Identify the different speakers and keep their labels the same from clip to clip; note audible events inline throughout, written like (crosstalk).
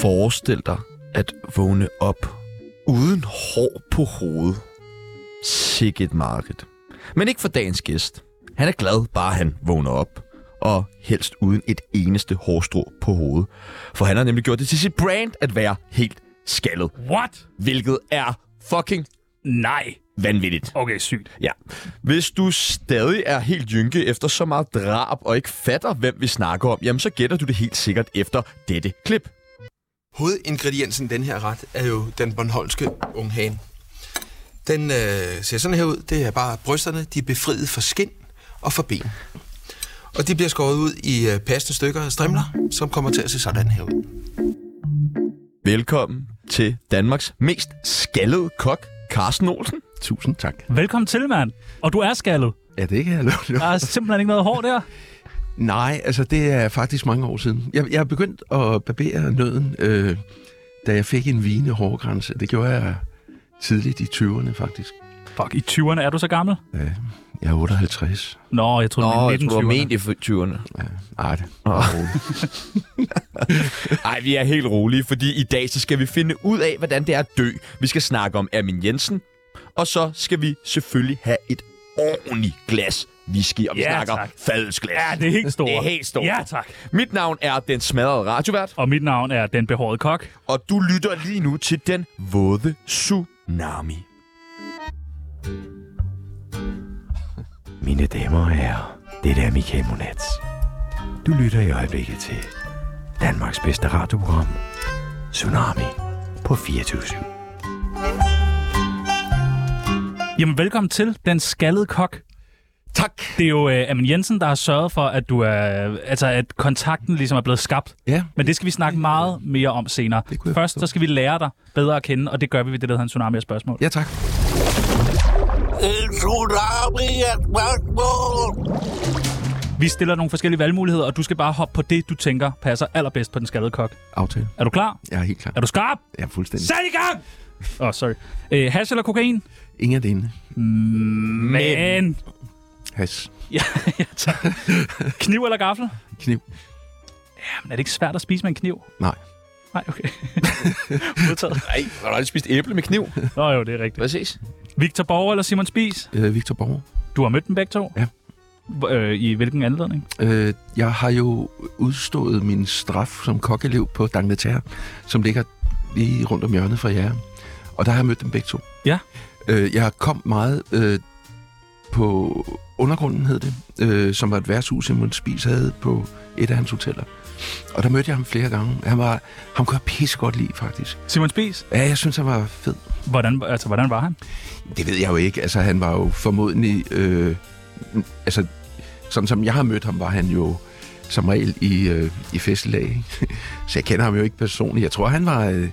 Speaker 1: forestille dig at vågne op uden hår på hovedet. Sikke et marked. Men ikke for dagens gæst. Han er glad, bare han vågner op. Og helst uden et eneste hårstrå på hovedet. For han har nemlig gjort det til sit brand at være helt skaldet.
Speaker 2: What?
Speaker 1: Hvilket er fucking
Speaker 2: Nej.
Speaker 1: vanvittigt.
Speaker 2: Okay, sygt.
Speaker 1: Ja. Hvis du stadig er helt jynke efter så meget drab og ikke fatter, hvem vi snakker om, jamen så gætter du det helt sikkert efter dette klip.
Speaker 3: Hovedingrediensen i den her ret er jo den bornholmske unghane. Den øh, ser sådan her ud. Det er bare brysterne. De er befriet for skind og for ben. Og de bliver skåret ud i øh, passende stykker og strimler, som kommer til at se sådan her ud.
Speaker 1: Velkommen til Danmarks mest skaldede kok, Carsten Olsen.
Speaker 4: Tusind tak.
Speaker 2: Velkommen til, mand. Og du er skaldet.
Speaker 4: Ja, det kan jeg love dig.
Speaker 2: Der er simpelthen ikke noget hår der.
Speaker 4: Nej, altså det er faktisk mange år siden. Jeg, jeg er begyndt at barbere nøden, øh, da jeg fik en vigende hårgrænse. Det gjorde jeg tidligt i 20'erne faktisk.
Speaker 2: Fuck, i 20'erne er du så gammel?
Speaker 4: Ja, jeg er 58.
Speaker 2: Nå, jeg troede,
Speaker 1: Nå, jeg
Speaker 2: du
Speaker 1: tror,
Speaker 2: var
Speaker 1: ment i 20'erne.
Speaker 4: Ej, det.
Speaker 1: Ej, vi er helt rolige, fordi i dag så skal vi finde ud af, hvordan det er at dø. Vi skal snakke om Ermin Jensen, og så skal vi selvfølgelig have et ordentligt glas whisky, og vi
Speaker 2: Ja,
Speaker 1: snakker
Speaker 2: tak.
Speaker 1: faldesglas.
Speaker 2: Ja, det er helt stort.
Speaker 1: Det er helt stort.
Speaker 2: Ja, tak.
Speaker 1: Mit navn er Den Smadrede Radiovært.
Speaker 2: Og mit navn er Den Behårede Kok.
Speaker 1: og du lytter lige nu til den våde tsunami.
Speaker 5: Mine damer og herrer, det er Michael Monats. Du lytter i øjeblikket til Danmarks bedste radioprogram, Tsunami på 24
Speaker 2: Jamen, velkommen til Den Skaldede Kok.
Speaker 4: Tak.
Speaker 2: Det er jo øh, Amin Jensen, der har sørget for, at, du er, altså, at kontakten ligesom er blevet skabt.
Speaker 4: Ja,
Speaker 2: Men det skal vi snakke meget mere om senere.
Speaker 4: Det kunne jeg
Speaker 2: Først
Speaker 4: forstå.
Speaker 2: så skal vi lære dig bedre at kende, og det gør vi ved det, der hedder en tsunami af spørgsmål.
Speaker 4: ja tak.
Speaker 2: Vi stiller nogle forskellige valgmuligheder, og du skal bare hoppe på det, du tænker passer allerbedst på den skaldede kok.
Speaker 4: Aftale.
Speaker 2: Er du klar?
Speaker 4: Jeg er helt klar.
Speaker 2: Er du skarp?
Speaker 4: Jeg er fuldstændig.
Speaker 2: Sæt i gang! Åh, oh, sorry. Øh, hash eller kokain?
Speaker 4: Ingen af delene.
Speaker 2: Men...
Speaker 4: Has.
Speaker 2: (laughs) Ja, ja, tak. Kniv eller gaffel?
Speaker 4: Kniv.
Speaker 2: Jamen, er det ikke svært at spise med en kniv?
Speaker 4: Nej.
Speaker 2: Nej, (laughs) okay. Modtaget.
Speaker 1: Ej, har du aldrig spist æble med kniv?
Speaker 2: Nå jo, det er rigtigt.
Speaker 1: ses?
Speaker 2: Victor Borger eller Simon Spies?
Speaker 4: Øh, Victor Borger.
Speaker 2: Du har mødt dem begge to?
Speaker 4: Ja.
Speaker 2: Hvor- Øh, I hvilken anledning?
Speaker 4: Øh, jeg har jo udstået min straf som kokkelev på Dangletær, som ligger lige rundt om hjørnet fra jer. Og der har jeg mødt dem begge to.
Speaker 2: Ja.
Speaker 4: Øh, jeg kom meget øh, på undergrunden, hed det, øh, som var et værtshus, Simon Spis havde på et af hans hoteller. Og der mødte jeg ham flere gange. Han var, ham kunne jeg pisse godt lide, faktisk.
Speaker 2: Simon Spies,
Speaker 4: Ja, jeg synes, han var fed.
Speaker 2: hvordan, altså, hvordan var han?
Speaker 4: Det ved jeg jo ikke. Altså, han var jo formodentlig... Øh, altså, sådan som jeg har mødt ham, var han jo som regel i, øh, i festlag. (laughs) ikke? Så jeg kender ham jo ikke personligt. Jeg tror, han var... Øh,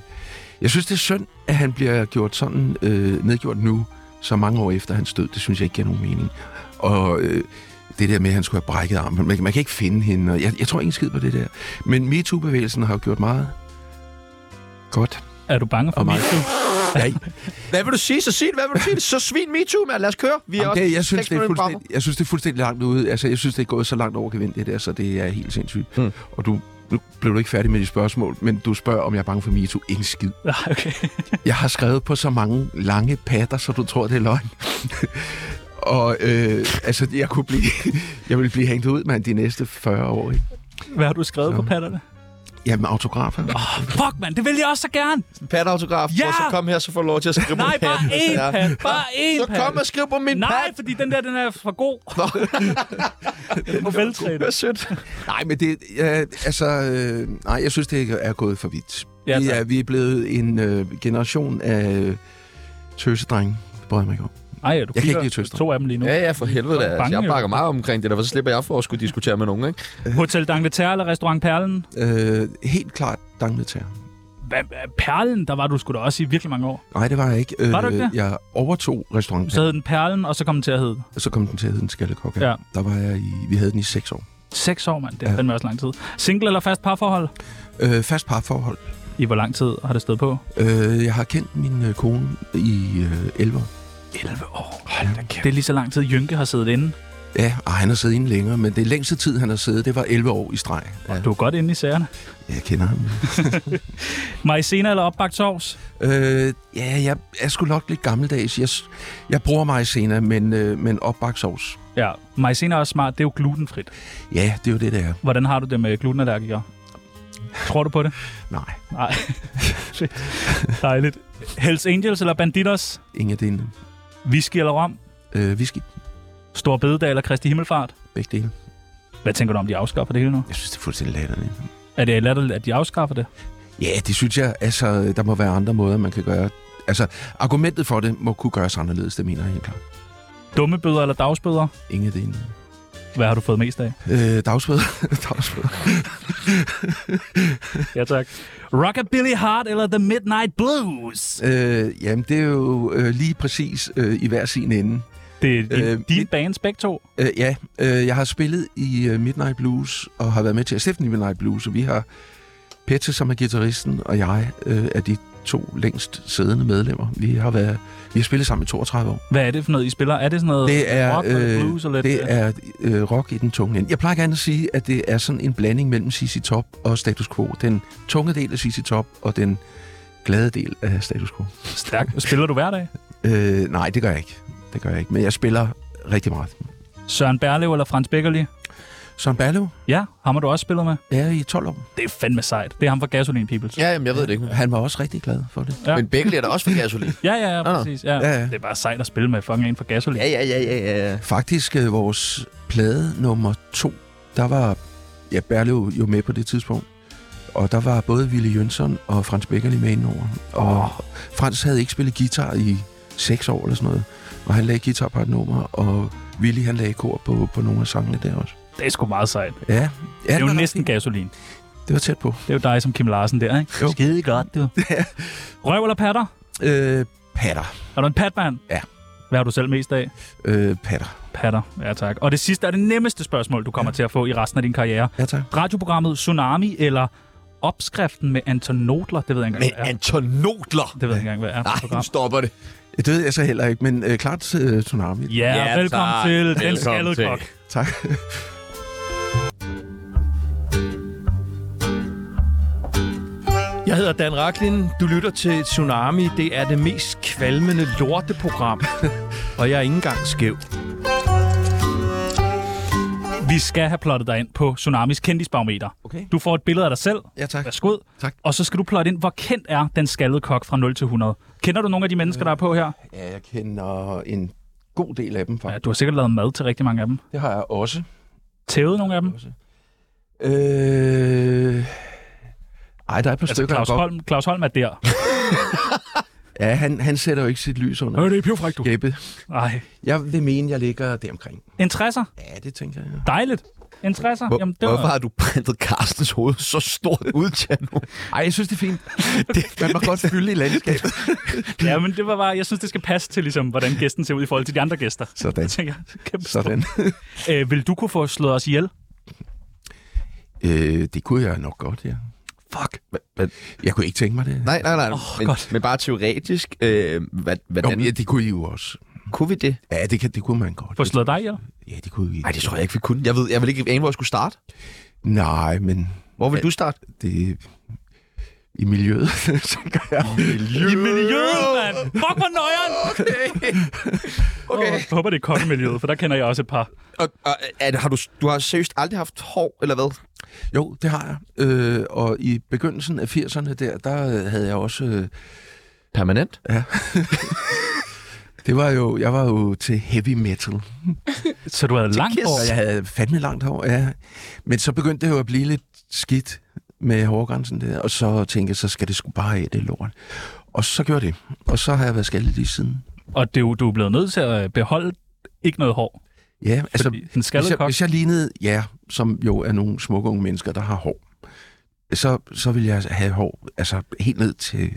Speaker 4: jeg synes, det er synd, at han bliver gjort sådan øh, nedgjort nu, så mange år efter hans død. Det synes jeg ikke giver nogen mening. Og øh, det der med, at han skulle have brækket armen. Man, man kan ikke finde hende. Og jeg, jeg tror ikke en skid på det der. Men MeToo-bevægelsen har jo gjort meget godt.
Speaker 2: Er du bange for
Speaker 4: Og
Speaker 2: mig?
Speaker 4: mig. Jeg,
Speaker 1: Hvad vil du sige, så sig det? Hvad vil du sige? Så svin MeToo, mand. Lad os køre. Vi er
Speaker 4: Jamen,
Speaker 1: også
Speaker 4: det, jeg, synes,
Speaker 1: seks
Speaker 4: det er
Speaker 1: minutter
Speaker 4: fuldstændig, jeg synes, det er fuldstændig langt ude. Altså, jeg synes, det er gået så langt over gevind, det der, så det er helt sindssygt.
Speaker 1: Mm.
Speaker 4: Mm. Og du, nu blev du ikke færdig med dit spørgsmål, men du spørger, om jeg er bange for MeToo. Ingen skid.
Speaker 2: Nej, okay.
Speaker 4: Jeg har skrevet på så mange lange patter, så du tror, det er løgn. (laughs) og øh, altså, jeg kunne blive... (laughs) jeg ville blive hængt ud, mand, de næste 40 år, ikke?
Speaker 2: Hvad har du skrevet på
Speaker 4: Så.
Speaker 2: patterne?
Speaker 4: Jamen, autografer.
Speaker 2: Oh, fuck, mand, det vil jeg også så gerne.
Speaker 1: fremme. Patautograf.
Speaker 2: Ja!
Speaker 1: Og så kom her, så får du lov til at skrive
Speaker 2: Nej,
Speaker 1: på
Speaker 2: bare
Speaker 1: patten, hvis
Speaker 2: én
Speaker 1: det er.
Speaker 2: pat. Bare én
Speaker 1: Så
Speaker 2: pat.
Speaker 1: kom og skriv på min
Speaker 2: Nej,
Speaker 1: pat.
Speaker 2: fordi den der, den er for
Speaker 4: (laughs)
Speaker 2: god. (laughs) den er for veltrænet.
Speaker 1: Det er sødt.
Speaker 4: Nej, men det... Ja, altså, øh, nej, jeg synes, det er gået for vidt.
Speaker 2: Ja,
Speaker 4: Ja, vi,
Speaker 2: tak.
Speaker 4: er, vi er blevet en øh, generation af øh, tøsedrenge. Det bryder jeg mig ikke om.
Speaker 2: Ej, ja, du
Speaker 4: Jeg kan ikke
Speaker 2: kigger
Speaker 4: lide tøster.
Speaker 2: to af dem lige nu.
Speaker 1: Ja, ja, for helvede da.
Speaker 2: Jeg er
Speaker 1: Altså,
Speaker 2: bange,
Speaker 1: jeg
Speaker 2: jo.
Speaker 1: bakker meget omkring det der, for så slipper jeg for at skulle diskutere med nogen, ikke?
Speaker 2: Hotel D'Angleterre eller Restaurant Perlen?
Speaker 4: Øh, helt klart Dangletær.
Speaker 2: Hvad, hvad- Perlen, der var du sgu da også i virkelig mange år.
Speaker 4: Nej, det var jeg ikke. Øh,
Speaker 2: Var du ikke det?
Speaker 4: Jeg overtog restauranten,
Speaker 2: Så
Speaker 4: så...
Speaker 2: hed den Perlen, og så kom den til at hedde.
Speaker 4: så kom den til at hedde en skallekok.
Speaker 2: Ja.
Speaker 4: Der var jeg i, vi havde den i seks år.
Speaker 2: Seks år, mand. Det er
Speaker 4: Ja.
Speaker 2: fandme også lang tid. Single eller fast parforhold?
Speaker 4: Øh, fast parforhold.
Speaker 2: I hvor lang tid har det stået på?
Speaker 4: Øh, jeg har kendt min øh, kone i øh, 11 år.
Speaker 2: 11 år. Hold da kæft. Det er lige så lang tid, Jynke har siddet inde.
Speaker 4: Ja, og han har siddet inde længere, men det længste tid, han har siddet, det var 11 år i streg. Ja,
Speaker 2: Du er godt inde i sagerne.
Speaker 4: jeg kender ham.
Speaker 2: Maizena eller opbagt sovs?
Speaker 4: Øh, ja, jeg er sgu nok lidt gammeldags. Jeg, s- jeg bruger maizena, men, øh, men opbagt sovs.
Speaker 2: Ja, maizena er også smart. Det er jo glutenfrit.
Speaker 4: Ja, det er jo det, det er.
Speaker 2: Hvordan har du det med glutenallergikere? Tror du på det?
Speaker 4: Nej,
Speaker 2: Nej. (laughs) Fedt. Dejligt. Hells Angels eller Banditos?
Speaker 4: ingen af dine.
Speaker 2: Whisky eller rom?
Speaker 4: Øh, whisky,
Speaker 2: Stor Bededag eller Kristi Himmelfart?
Speaker 4: begge dele.
Speaker 2: Hvad tænker du om, de afskaffer det hele nu?
Speaker 4: Jeg synes, det er fuldstændig latterligt.
Speaker 2: Er det latterligt, at de afskaffer det?
Speaker 4: Ja, det synes jeg. Altså, der må være andre måder, man kan gøre. Altså, argumentet for det må kunne gøres anderledes, det mener jeg helt klart.
Speaker 2: Dumme bøder eller dagsbøder?
Speaker 4: Ingen af dine.
Speaker 2: Hvad har du fået mest af?
Speaker 4: Øh, (laughs) dagsbød. dagsbød.
Speaker 2: (laughs) Ja, tak. Rockabilly Heart eller The Midnight Blues?
Speaker 4: Øh, jamen, det er jo øh, lige præcis øh, i hver sin ende.
Speaker 2: Det er din,
Speaker 4: Øh,
Speaker 2: øh, dine
Speaker 4: mit-
Speaker 2: bands begge to.
Speaker 4: Øh, ja, øh, jeg har spillet i øh, Midnight Blues, og har været med til at stifte Midnight Blues, og vi har Pette, som er guitaristen, og jeg øh, er de to længst siddende medlemmer. Vi har, været, vi har spillet sammen i 32 år.
Speaker 2: Hvad er det for noget, I spiller? Er det sådan noget
Speaker 4: Det er,
Speaker 2: rock eller
Speaker 4: øh,
Speaker 2: blues? Eller
Speaker 4: Det er øh, rock i den tunge ende. Jeg plejer gerne at sige, at det er sådan en blanding mellem CC Top og Status Quo. Den tunge del af CC Top og den glade del af Status Quo.
Speaker 2: Stærkt. Spiller du hver dag?
Speaker 4: Øh, nej, det gør jeg ikke. Det gør jeg ikke, men jeg spiller rigtig meget.
Speaker 2: Søren Berlev eller Frans Beckerli?
Speaker 4: Søren Ballev
Speaker 2: Ja, ham har du også spillet med.
Speaker 4: er i 12 år.
Speaker 2: Det er fandme sejt. Det er ham fra Gasoline Peoples.
Speaker 1: Ja, jamen, jeg ved det ikke.
Speaker 4: Han var også rigtig glad for det.
Speaker 2: Ja.
Speaker 1: Men Beckley er da også for gasolin.
Speaker 2: Ja, ja, ja,
Speaker 1: Nå, nå.
Speaker 2: præcis. Ja.
Speaker 4: Ja, ja.
Speaker 2: Det er bare sejt at spille med fucking en fra Gasolin.
Speaker 1: ja, ja, ja, ja, ja.
Speaker 4: Faktisk øh, vores plade nummer to, der var ja, Berlev jo med på det tidspunkt. Og der var både Ville Jønsson og Frans Beckerli med indover. Og Frans havde ikke spillet guitar i seks år eller sådan noget. Og han lagde guitar på et nummer, og Willy han lagde kor på, på nogle af sangene der også.
Speaker 2: Det er sgu meget sejt.
Speaker 4: Ja, ja
Speaker 2: Det er
Speaker 4: den
Speaker 2: jo
Speaker 4: var
Speaker 2: næsten
Speaker 4: rigtig-
Speaker 2: gasolin.
Speaker 4: Det var tæt på.
Speaker 2: Det er jo dig som Kim Larsen der, ikke?
Speaker 4: Jo.
Speaker 2: Skide godt, du. Røv eller patter?
Speaker 4: Øh, patter.
Speaker 2: Er du en patmand?
Speaker 4: Ja.
Speaker 2: Hvad har du selv mest af?
Speaker 4: Øh, patter.
Speaker 2: Patter. Ja, tak. Og det sidste er det nemmeste spørgsmål, du kommer ja. til at få i resten af din karriere.
Speaker 4: Ja, tak.
Speaker 2: Radioprogrammet Tsunami eller opskriften med Anton Nodler? Det ved jeg ikke
Speaker 1: Men
Speaker 2: engang, hvad er.
Speaker 1: Anton Nodler!
Speaker 2: Det ved jeg ikke engang, hvad er. for
Speaker 1: Nej, nu
Speaker 2: program.
Speaker 1: stopper det.
Speaker 4: Det ved jeg så heller ikke, men øh, klart øh, Tsunami.
Speaker 2: Ja, ja
Speaker 1: Ja,
Speaker 2: velkommen
Speaker 1: tak.
Speaker 2: til Den
Speaker 1: Velkommen
Speaker 2: Skaldede
Speaker 1: til.
Speaker 2: Kok.
Speaker 4: Tak.
Speaker 6: Jeg hedder Dan Raklin. Du lytter til Tsunami. Det er det mest kvalmende lorteprogram. Og jeg er ikke engang skæv.
Speaker 2: Vi skal have plottet dig ind på Tsunamis kendisbarometer.
Speaker 4: Okay.
Speaker 2: Du får et billede af dig selv.
Speaker 4: Ja, tak.
Speaker 2: Værsgod.
Speaker 4: Tak.
Speaker 2: Og så skal du plotte ind, hvor kendt er den skaldede kok fra 0 til 100. Kender du nogle af de mennesker, der er på her?
Speaker 4: Ja, jeg kender en god del af dem, faktisk.
Speaker 2: Ja, du har sikkert lavet mad til rigtig mange af dem.
Speaker 4: Det har jeg også.
Speaker 2: Tævet nogle af dem?
Speaker 4: Øh... Ej, der er et par
Speaker 2: Altså,
Speaker 4: stykker.
Speaker 2: Claus
Speaker 4: jeg godt-
Speaker 2: Holm, Claus Holm er der.
Speaker 4: Ja, han, han sætter jo ikke sit lys under.
Speaker 2: det er pivfræk, du.
Speaker 4: Jeppe.
Speaker 2: Ej.
Speaker 4: Jeg vil mene, jeg ligger deromkring.
Speaker 2: En 60'er.
Speaker 4: Ja, det tænker jeg.
Speaker 2: Dejligt. En 60'er.
Speaker 1: Hvor,
Speaker 2: Jamen, det
Speaker 1: Hvorfor
Speaker 2: var...
Speaker 1: har du printet Carstens hoved så stort ud, Tjerno?
Speaker 4: Ej, jeg synes, det er fint.
Speaker 2: (laughs)
Speaker 4: det, man må godt fylde i landskabet.
Speaker 2: Ja, men det var bare... Jeg synes, det skal passe til, ligesom, hvordan gæsten ser ud i forhold til de andre gæster.
Speaker 4: Sådan.
Speaker 2: (laughs) Jeg tænker, kæmpe (laughs) Sådan.
Speaker 4: Sådan.
Speaker 2: Æ, vil du kunne få slået os ihjel?
Speaker 4: øh, det kunne jeg nok godt, ja.
Speaker 1: Fuck. Hva- hva-
Speaker 4: Jeg kunne ikke tænke mig det.
Speaker 1: Nej, nej, nej. men,
Speaker 2: godt.
Speaker 1: men bare teoretisk, øh, hvad,
Speaker 4: Jo,
Speaker 1: hvordan
Speaker 4: men, ja, det kunne I jo også.
Speaker 1: kunne vi det?
Speaker 4: Ja, det, kan, det kunne man godt.
Speaker 2: Få slået dig ihjel?
Speaker 4: Ja, det kunne I.
Speaker 1: Nej, det tror jeg ikke, vi kunne. Jeg, ved, jeg vil ikke ane, hvor jeg skulle starte.
Speaker 4: Nej, men
Speaker 1: Hvor vil du starte?
Speaker 4: det... I miljøet, (laughs) tænker jeg.
Speaker 2: I miljøet, mand! Fuck, hvor nøjeren! Okay. Jeg håber, det er kokkemiljøet, for der kender jeg også et par.
Speaker 1: (laughs) Og, og, er, det- har du, du har seriøst aldrig haft hår, eller hvad?
Speaker 4: Jo, det har jeg. Øh, og i begyndelsen af 80'erne der, der øh, havde jeg også... Øh,
Speaker 1: Permanent?
Speaker 4: det var jo... Jeg var jo til heavy metal.
Speaker 2: Så du havde langt hår?
Speaker 4: Og jeg havde fandme langt hår, ja. Men så begyndte det jo at blive lidt skidt med hårgrænsen der, og så tænkte jeg, så skal det sgu bare af, det lort. Og så gjorde det. Og så har jeg været skaldet lige siden.
Speaker 2: Og det, er jo- du er blevet nødt til at beholde ikke noget hår.
Speaker 4: Ja, altså,
Speaker 2: Fordi en
Speaker 4: hvis
Speaker 2: skaldet
Speaker 4: jeg,
Speaker 2: kok,
Speaker 4: hvis jeg lignede jer, som jo er nogle smukke unge mennesker, der har hår, så, så ville jeg have hår, altså helt ned til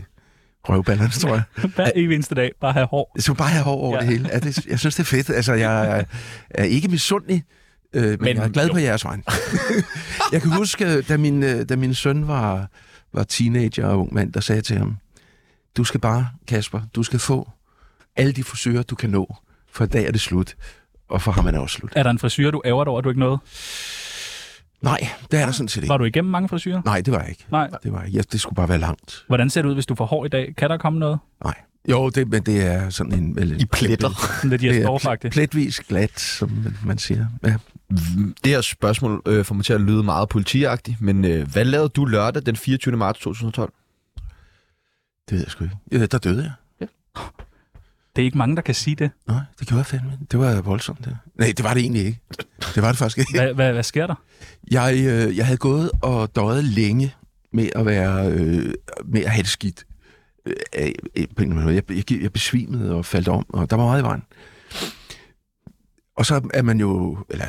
Speaker 4: røvballerne, tror jeg.
Speaker 2: (laughs) hver evig eneste dag, bare have hår.
Speaker 4: Så bare have hår
Speaker 2: Ja.
Speaker 4: over ja. det hele. Ja, det, jeg synes, det er fedt. Altså, jeg er, er ikke misundelig, øh, men, men
Speaker 2: Men
Speaker 4: jeg er glad
Speaker 2: jo.
Speaker 4: på jeres vegne. jeg kan huske, da min, øh, da min søn var, var teenager og ung mand, der sagde jeg til ham, du skal bare, Kasper, du skal få alle de forsøger, du kan nå, for i dag er det slut. og for ham er det også slut.
Speaker 2: Er der en frisyr, du ærger dig over, at du ikke nåede?
Speaker 4: Nej, det er der sådan set ikke.
Speaker 2: Var du igennem mange frisyrer?
Speaker 4: Nej, det var jeg ikke.
Speaker 2: Nej.
Speaker 4: Det var jeg. ikke. Ja, det skulle bare være langt.
Speaker 2: Hvordan ser det ud, hvis du får hår i dag? Kan der komme noget?
Speaker 4: Nej. Jo, det, men det er sådan en... Vel,
Speaker 1: I pletter.
Speaker 2: Sådan lidt
Speaker 4: Det
Speaker 2: Jes
Speaker 4: er
Speaker 2: Dorf-agtigt.
Speaker 4: Pletvis glat, som man- man siger. Ja.
Speaker 1: Det her spørgsmål øh, får mig til at lyde meget politiagtigt, men øh, hvad lavede du lørdag den 24. marts 2012?
Speaker 4: Det ved jeg sgu ikke. Ja, der døde jeg.
Speaker 2: Det er ikke mange, der kan sige det.
Speaker 4: Nej, det gjorde jeg fandme. Det var voldsomt, det. Nej, det var det egentlig ikke. Det var det faktisk
Speaker 2: (laughs)
Speaker 4: ikke.
Speaker 2: Hvad, hvad, hvad sker der?
Speaker 4: Jeg, øh, jeg havde gået og døjet længe med at være øh, med at have det skidt. Øh, af- øh, på en eller anden måde. Jeg, jeg, gik- jeg besvimede og faldt om, og der var meget i vejen. Og så er man jo, eller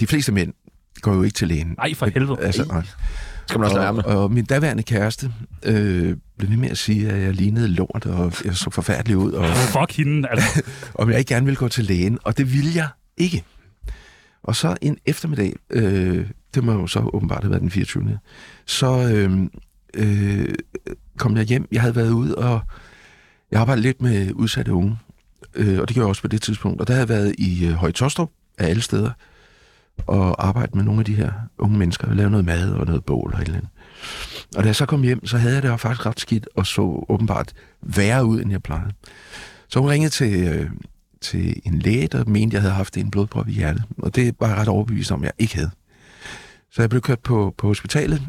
Speaker 4: de fleste mænd går jo ikke til lægen.
Speaker 2: Nej, for helvede.
Speaker 4: Altså, nej.
Speaker 1: Skal man også lade være med?
Speaker 4: og, og min daværende kæreste øh, blev ved med at sige, at jeg lignede lort, og jeg så forfærdelig ud, og
Speaker 2: Fuck hende, altså.
Speaker 4: om jeg ikke gerne ville gå til lægen, og det ville jeg ikke. Og så en eftermiddag, øh, det må jo så åbenbart have været den 24. Så øh, øh, kom jeg hjem. Jeg havde været ude, og jeg arbejdede lidt med udsatte unge, øh, og det gjorde jeg også på det tidspunkt. Og der havde jeg været i øh, Høje Tostrup af alle steder, og arbejdet med nogle af de her unge mennesker, og lavet noget mad og noget bål og et eller andet. Og da jeg så kom hjem, så havde jeg det faktisk ret skidt, og så åbenbart værre ud, end jeg plejede. Så hun ringede til, øh, til en læge, der mente, jeg havde haft en blodprop i hjertet. Og det var jeg ret overbevist om, jeg ikke havde. Så jeg blev kørt på, på hospitalet,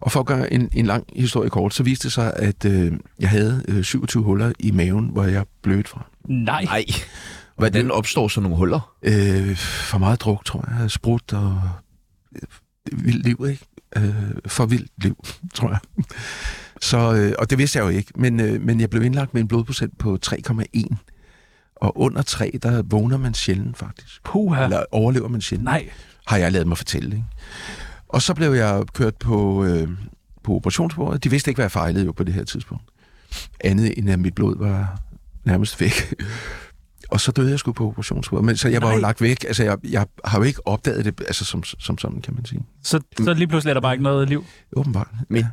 Speaker 4: og for at gøre en, en lang historie kort, så viste det sig, at øh, jeg havde øh, 27 huller i maven, hvor jeg blødte fra.
Speaker 2: Nej.
Speaker 1: Nej. Hvordan opstår sådan nogle huller?
Speaker 4: Øh, for meget druk, tror jeg. Sprut og øh, vildt liv, ikke? Øh, for vildt liv, (laughs) tror jeg. Så, øh, og det vidste jeg jo ikke, men, øh, men jeg blev indlagt med en blodprocent på 3,1. Og under 3, der vågner man sjældent faktisk.
Speaker 2: Puha.
Speaker 4: Eller overlever man sjældent,
Speaker 2: Nej.
Speaker 4: har jeg lavet mig fortælle. Ikke? Og så blev jeg kørt på, øh, på operationsbordet. De vidste ikke, hvad jeg fejlede jo på det her tidspunkt. Andet end at mit blod var nærmest væk. Og så døde jeg sgu på operationsbordet. Men så jeg var jo
Speaker 2: Nej.
Speaker 4: lagt væk. Altså, jeg, jeg har jo ikke opdaget det altså, som, som sådan, kan man sige.
Speaker 2: Så, så lige pludselig er der bare ikke noget liv.
Speaker 4: Åbenbart.
Speaker 1: Men-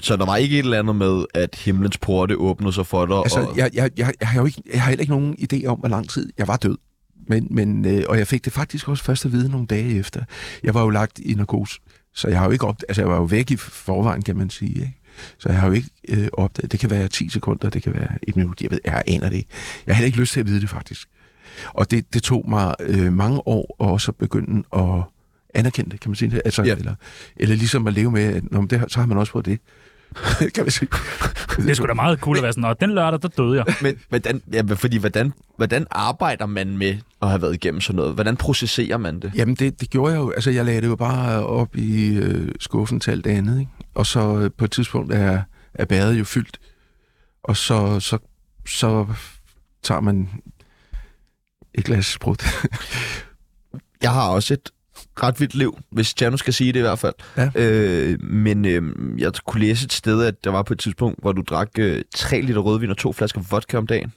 Speaker 1: Så der var ikke et eller andet med, at himlens porte åbnede sig for dig?
Speaker 4: Altså,
Speaker 1: og...
Speaker 4: jeg, jeg, jeg, jeg, har jo ikke, jeg har heller ikke nogen idé om, hvor lang tid jeg var død. Men, men, øh, og jeg fik det faktisk også først at vide nogle dage efter. Jeg var jo lagt i narkose, så jeg har jo ikke opdaget, altså jeg var jo væk i forvejen, kan man sige. Ikke? Så jeg har jo ikke øh, opdaget, det kan være 10 sekunder, det kan være et minut, jeg, ved, jeg aner det ikke. Jeg har heller ikke lyst til at vide det faktisk. Og det, det tog mig øh, mange år at også begynde at anerkende det, kan man sige det? Altså,
Speaker 1: Ja.
Speaker 4: eller, eller ligesom at leve med, at når det, har- så har man også fået det. (laughs) kan man sige.
Speaker 2: Det er sgu da meget cool at være sådan, og den lørdag, der døde jeg.
Speaker 1: Men hvordan, ja, men fordi hvordan, hvordan arbejder man med at have været igennem sådan noget? Hvordan processerer man det?
Speaker 4: Jamen, det, det gjorde jeg jo. Altså, jeg lagde det jo bare op i øh, skuffen til alt det andet, ikke? Og så øh, på et tidspunkt er, er badet jo fyldt. Og så, så, så tager man et glas sprut.
Speaker 1: Jeg har også et ret vildt liv, hvis Tjerno skal sige det i hvert fald.
Speaker 4: Ja.
Speaker 1: Øh, men øh, jeg kunne læse et sted, at der var på et tidspunkt, hvor du drak øh, 3 liter rødvin og to flasker vodka om dagen.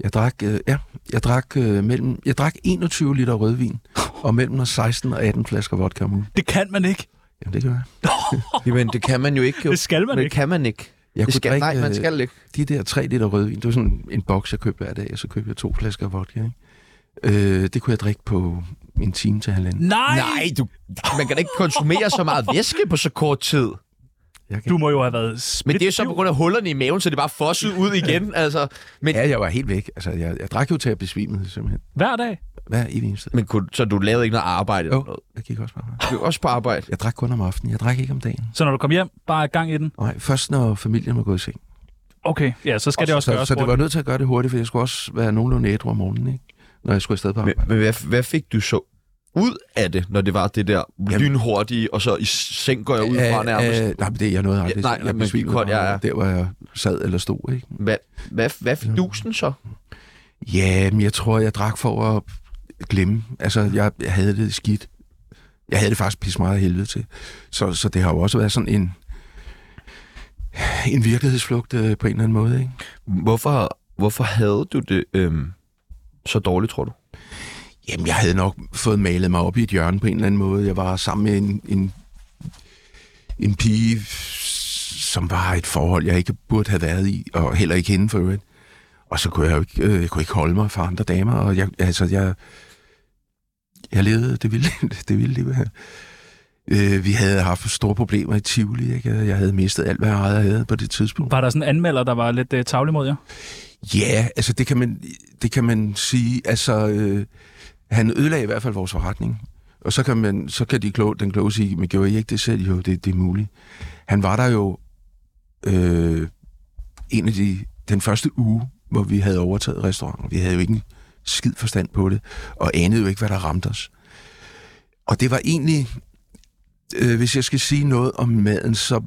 Speaker 4: Jeg drak, øh, ja, jeg drak, øh, mellem, jeg drak 21 liter
Speaker 1: (laughs)
Speaker 4: rødvin, og mellem 16 og 18 flasker vodka om ugen.
Speaker 2: Det kan man ikke.
Speaker 4: Jamen, det gør jeg.
Speaker 1: Jamen, det kan man jo ikke. Jo.
Speaker 2: Det skal man
Speaker 1: det
Speaker 2: ikke.
Speaker 1: kan man ikke.
Speaker 4: Jeg
Speaker 1: det skal,
Speaker 4: drikke,
Speaker 1: nej, man
Speaker 4: øh,
Speaker 1: skal ikke.
Speaker 4: de der 3 liter rødvin, det var sådan en boks, jeg købte hver dag, og så købte jeg to flasker vodka, ikke? Øh, det kunne jeg drikke på en time til halvanden.
Speaker 2: Nej!
Speaker 1: Nej, du, man kan da ikke konsumere så meget væske på så kort tid.
Speaker 4: Jeg kan
Speaker 2: Du må jo have været spidt.
Speaker 1: Men det er så på grund af hullerne i maven, så det bare fossede ud igen. Altså, men,
Speaker 4: Ja, jeg var helt væk. Altså, jeg, jeg drak jo til at besvime, simpelthen.
Speaker 2: Hver dag.
Speaker 4: Hver evig eneste dag.
Speaker 1: men kunne, så du lavede ikke noget arbejde? eller
Speaker 4: Jo,
Speaker 1: noget?
Speaker 4: jeg gik også bare.
Speaker 1: Du er også på arbejde.
Speaker 4: Jeg drak kun om aftenen. Jeg drak ikke om dagen.
Speaker 2: Så når du kom hjem, bare gang i den.
Speaker 4: Nej, først når familien var gået i seng.
Speaker 2: Okay, ja, så skal det også
Speaker 4: så,
Speaker 2: gøres
Speaker 4: så det var
Speaker 2: hurtigt.
Speaker 4: nødt til at gøre det hurtigt, for jeg skulle også være nogenlunde ædru om morgenen, ikke? Når jeg skulle afsted på
Speaker 1: Men,
Speaker 4: arbejde.
Speaker 1: men hvad, hvad fik du så ud af det, når det var det der lynhurtige, og så i seng går jeg ud fra nærmest?
Speaker 4: Æh, nej, men det er jeg noget aldrig.
Speaker 1: Ja, nej, men
Speaker 4: jeg besvimede
Speaker 1: kort,
Speaker 4: bare
Speaker 1: ja, ja.
Speaker 4: Der, hvor jeg sad eller stod, ikke?
Speaker 1: Hvad, hvad, hvad fik dusen så?
Speaker 4: Ja, men jeg tror, jeg drak for at glemme. Altså, jeg havde det skidt. Jeg havde det faktisk pisse meget af helvede til. Så, så det har jo også været sådan en, en virkelighedsflugt øh, på en eller anden måde, ikke?
Speaker 1: Hvorfor, hvorfor havde du det øhm, så dårligt, tror du?
Speaker 4: Jamen, jeg havde nok fået malet mig op i et hjørne på en eller anden måde. Jeg var sammen med en, en, en pige, som var i et forhold, jeg ikke burde have været i, og heller ikke hende for øvrigt. Og så kunne jeg jo ikke, øh, jeg kunne ikke holde mig for andre damer, og jeg, altså, jeg, jeg levede det vilde, (laughs) det vilde liv her. Øh, vi havde haft store problemer i Tivoli, ikke? Jeg havde mistet alt, hvad jeg ejede havde på det tidspunkt.
Speaker 2: Var der sådan en anmelder, der var lidt øh, tavlig mod jer?
Speaker 4: Ja, altså det kan man, det kan man sige. Altså, øh, han ødelagde i hvert fald vores forretning. Og så kan, man, så kan de kloge, den kloge sige, men gjorde I ikke det selv? Jo, det, det er muligt. Han var der jo øh, en af de, den første uge, hvor vi havde overtaget restauranten. Vi havde jo ikke en skid forstand på det, og anede jo ikke, hvad der ramte os. Og det var egentlig, øh, hvis jeg skal sige noget om maden, så,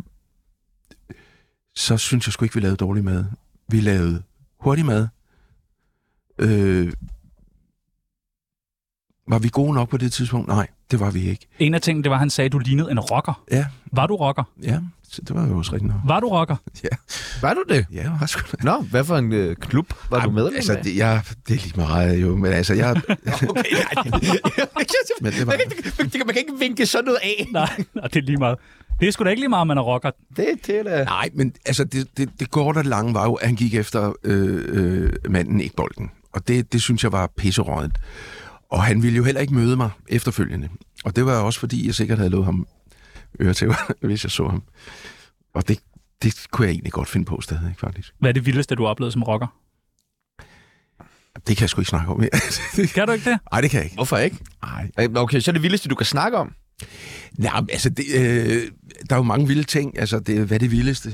Speaker 4: så synes jeg sgu ikke, vi lavede dårlig mad. Vi lavede hurtig mad. Øh, var vi gode nok på det tidspunkt? Nej, det var vi ikke.
Speaker 2: En af tingene, det var, at han sagde, at du lignede en rocker.
Speaker 4: Ja.
Speaker 2: Var du rocker?
Speaker 4: Ja, så det var jo også rigtigt nok.
Speaker 2: Var du rocker?
Speaker 1: Var du det?
Speaker 4: Ja, jeg var sgu da.
Speaker 1: Nå, hvad for en øh, klub var du
Speaker 4: Ej,
Speaker 1: med?
Speaker 4: altså, det, jeg, det er lige meget jo, men altså,
Speaker 1: (laughs)
Speaker 4: jeg...
Speaker 1: okay, nej.
Speaker 4: Men det var-
Speaker 1: man, kan, ikke- man, kan, man kan ikke vinke sådan noget af.
Speaker 2: Nej, nej, det er lige meget. Det er sgu da ikke lige meget, om man er rocker.
Speaker 1: Det, det er da...
Speaker 4: Nej, men altså, det, det, det går der lange var jo, at han gik efter øh, øh, manden, ikke bolden. Og det, det synes jeg var pisserådent. Og han ville jo heller ikke møde mig efterfølgende. Og det var også, fordi jeg sikkert havde lovet ham øretæver, (laughs) hvis jeg så ham. Og det, det kunne jeg egentlig godt finde på stadig, ikke, faktisk.
Speaker 2: Hvad er det vildeste, du har oplevet som rocker?
Speaker 4: Det kan jeg sgu ikke snakke om mere. (laughs)
Speaker 2: Kan du ikke det?
Speaker 4: Nej, det kan jeg ikke.
Speaker 1: Hvorfor ikke?
Speaker 4: Nej.
Speaker 1: Okay, så er det vildeste, du kan snakke om.
Speaker 4: Nej, men altså, det, øh, der er jo mange vilde ting. Altså, det, hvad er det vildeste?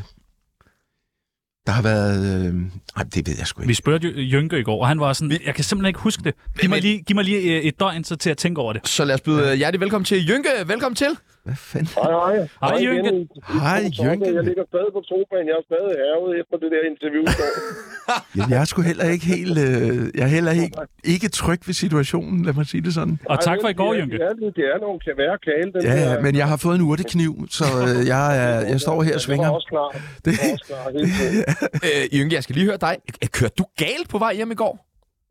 Speaker 4: Der har været... Øh, nej, det ved jeg sgu
Speaker 2: Vi
Speaker 4: ikke.
Speaker 2: spurgte Jø- Jynke i går, og han var sådan, jeg kan simpelthen ikke huske det. Giv mig lige, giv mig lige øh, et døgn så til at tænke over det.
Speaker 1: Så lad os byde øh, hjertelig velkommen til Jynke. Velkommen til.
Speaker 4: Hvad fanden?
Speaker 7: Hej, hej.
Speaker 2: Hej, Jynke.
Speaker 7: igen.
Speaker 4: Hej, Jynke.
Speaker 7: Jeg ligger stadig på sofaen. Jeg er stadig hervet efter det der interview.
Speaker 4: (laughs)
Speaker 7: i går.
Speaker 4: Jamen, jeg er sgu heller ikke helt... Øh, jeg er heller ikke, ikke tryg ved situationen, lad mig sige det sådan.
Speaker 2: Og tak for i
Speaker 7: Ej,
Speaker 2: går,
Speaker 7: det er-
Speaker 2: Jynke.
Speaker 7: Det er, det er nogle kvære kale. Den
Speaker 4: Ja,
Speaker 7: der-
Speaker 4: men jeg har fået en urtekniv, så øh, jeg, er, jeg står her og
Speaker 7: (laughs) Jeg
Speaker 4: svinger.
Speaker 7: var også klar.
Speaker 4: Det,
Speaker 7: Jeg var også klar hele tiden.
Speaker 1: Øh, Jynke, jeg skal lige høre dig. Øh, Kørte du galt på vej hjem i går?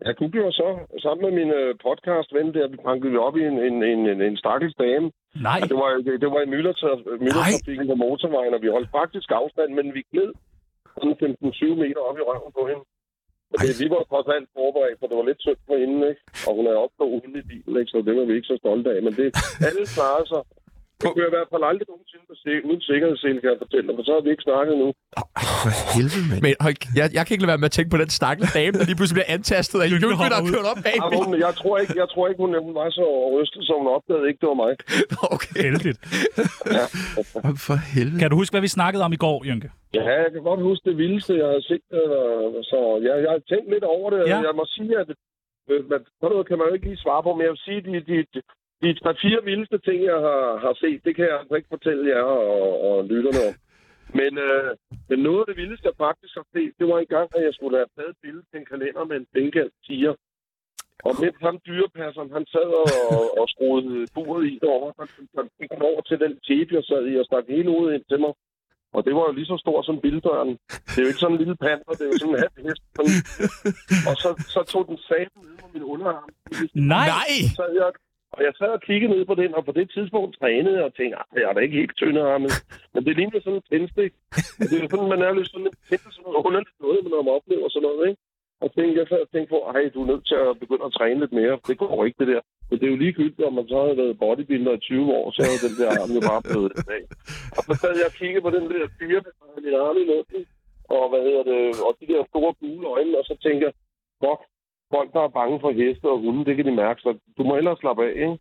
Speaker 7: Jeg googler så, sammen med min øh, podcastven der, vi bankede op i en, en, en, en, en stakkels dame. (laughs)
Speaker 2: Nej,
Speaker 7: Og det var, det, det var i myldretra- myldretrafikken på motorvejen, og vi holdt faktisk afstand, men vi gled sådan 15-20 meter op i røven på hende. Fordi vi var trods alt forberedt, for det var lidt tyndt for hende, ikke? Og hun er oppe på uden i bilen, ikke? Så det var vi ikke så stolte af. Men det, alle klarer sig. Det kunne jeg i hvert fald aldrig nogensinde på se, uden sikkerhedssel, kan jeg fortælle dig, for så har vi ikke snakket nu.
Speaker 4: for helvede, mand.
Speaker 1: Men hold, jeg, jeg kan ikke lade være med at tænke på den stakkels dame, der lige pludselig bliver antastet af Jynke, der
Speaker 2: hopper
Speaker 1: er
Speaker 2: ud.
Speaker 1: kørt op bag
Speaker 7: Ej,
Speaker 1: mig.
Speaker 7: hun, jeg tror ikke, jeg tror ikke hun, hun var så rystet, som hun opdagede ikke, det var mig.
Speaker 1: Okay.
Speaker 2: heldigt.
Speaker 4: Åh, For helvede.
Speaker 2: Kan du huske, hvad vi snakkede om i går, Jynke?
Speaker 7: Ja, jeg kan godt huske det vildeste, jeg har set. øh, Så jeg, jeg har tænkt lidt over det.
Speaker 2: Ja.
Speaker 7: Ja. Jeg må sige, at øh, man, sådan noget kan man jo ikke lige svare på, men jeg vil sige, at de, de, de- de tre fire vildeste ting, jeg har, har set, det kan jeg altså ikke fortælle jer og, og lytterne om. Men, øh, men noget af det vildeste, jeg faktisk har set, det var en gang, at jeg skulle have taget et billede til en kalender med en bengalsk tiger. Og mens ham dyrepasseren, han sad og, og skruede buret i derovre, så gik han over til den tæppe, jeg sad i, og stak hele hovedet ind til mig. Og det var jo lige så stor som bildøren. Det er jo ikke sådan en lille panter, det er jo sådan en halv hest. Sådan. Og så, så tog den saten ned på min underarm.
Speaker 2: Nej,
Speaker 1: Nej!
Speaker 7: Så jeg, og jeg sad og kiggede ned på den, og på det tidspunkt trænede jeg og tænkte, "Ah, jeg er da ikke helt tyndearmet. Men det ligner sådan en tændstik. Og det er jo sådan, man er lidt sådan en tændt sådan noget underligt noget, når man oplever sådan noget, ikke? Og tænkte, jeg sad og tænkte på, ej, du er nødt til at begynde at træne lidt mere. Det går ikke, det der. Men det er jo ligegyldigt, om man så havde været bodybuilder i 20 år, så er den der arm jo bare blevet en dag. Og så sad jeg og kiggede på den der dyre, der havde min arm i luften, og hvad hedder det, og de der store gule øjne, og så tænker jeg, fuck, folk, der er bange for heste og hunde, det kan de mærke, så du må hellere slappe af, ikke?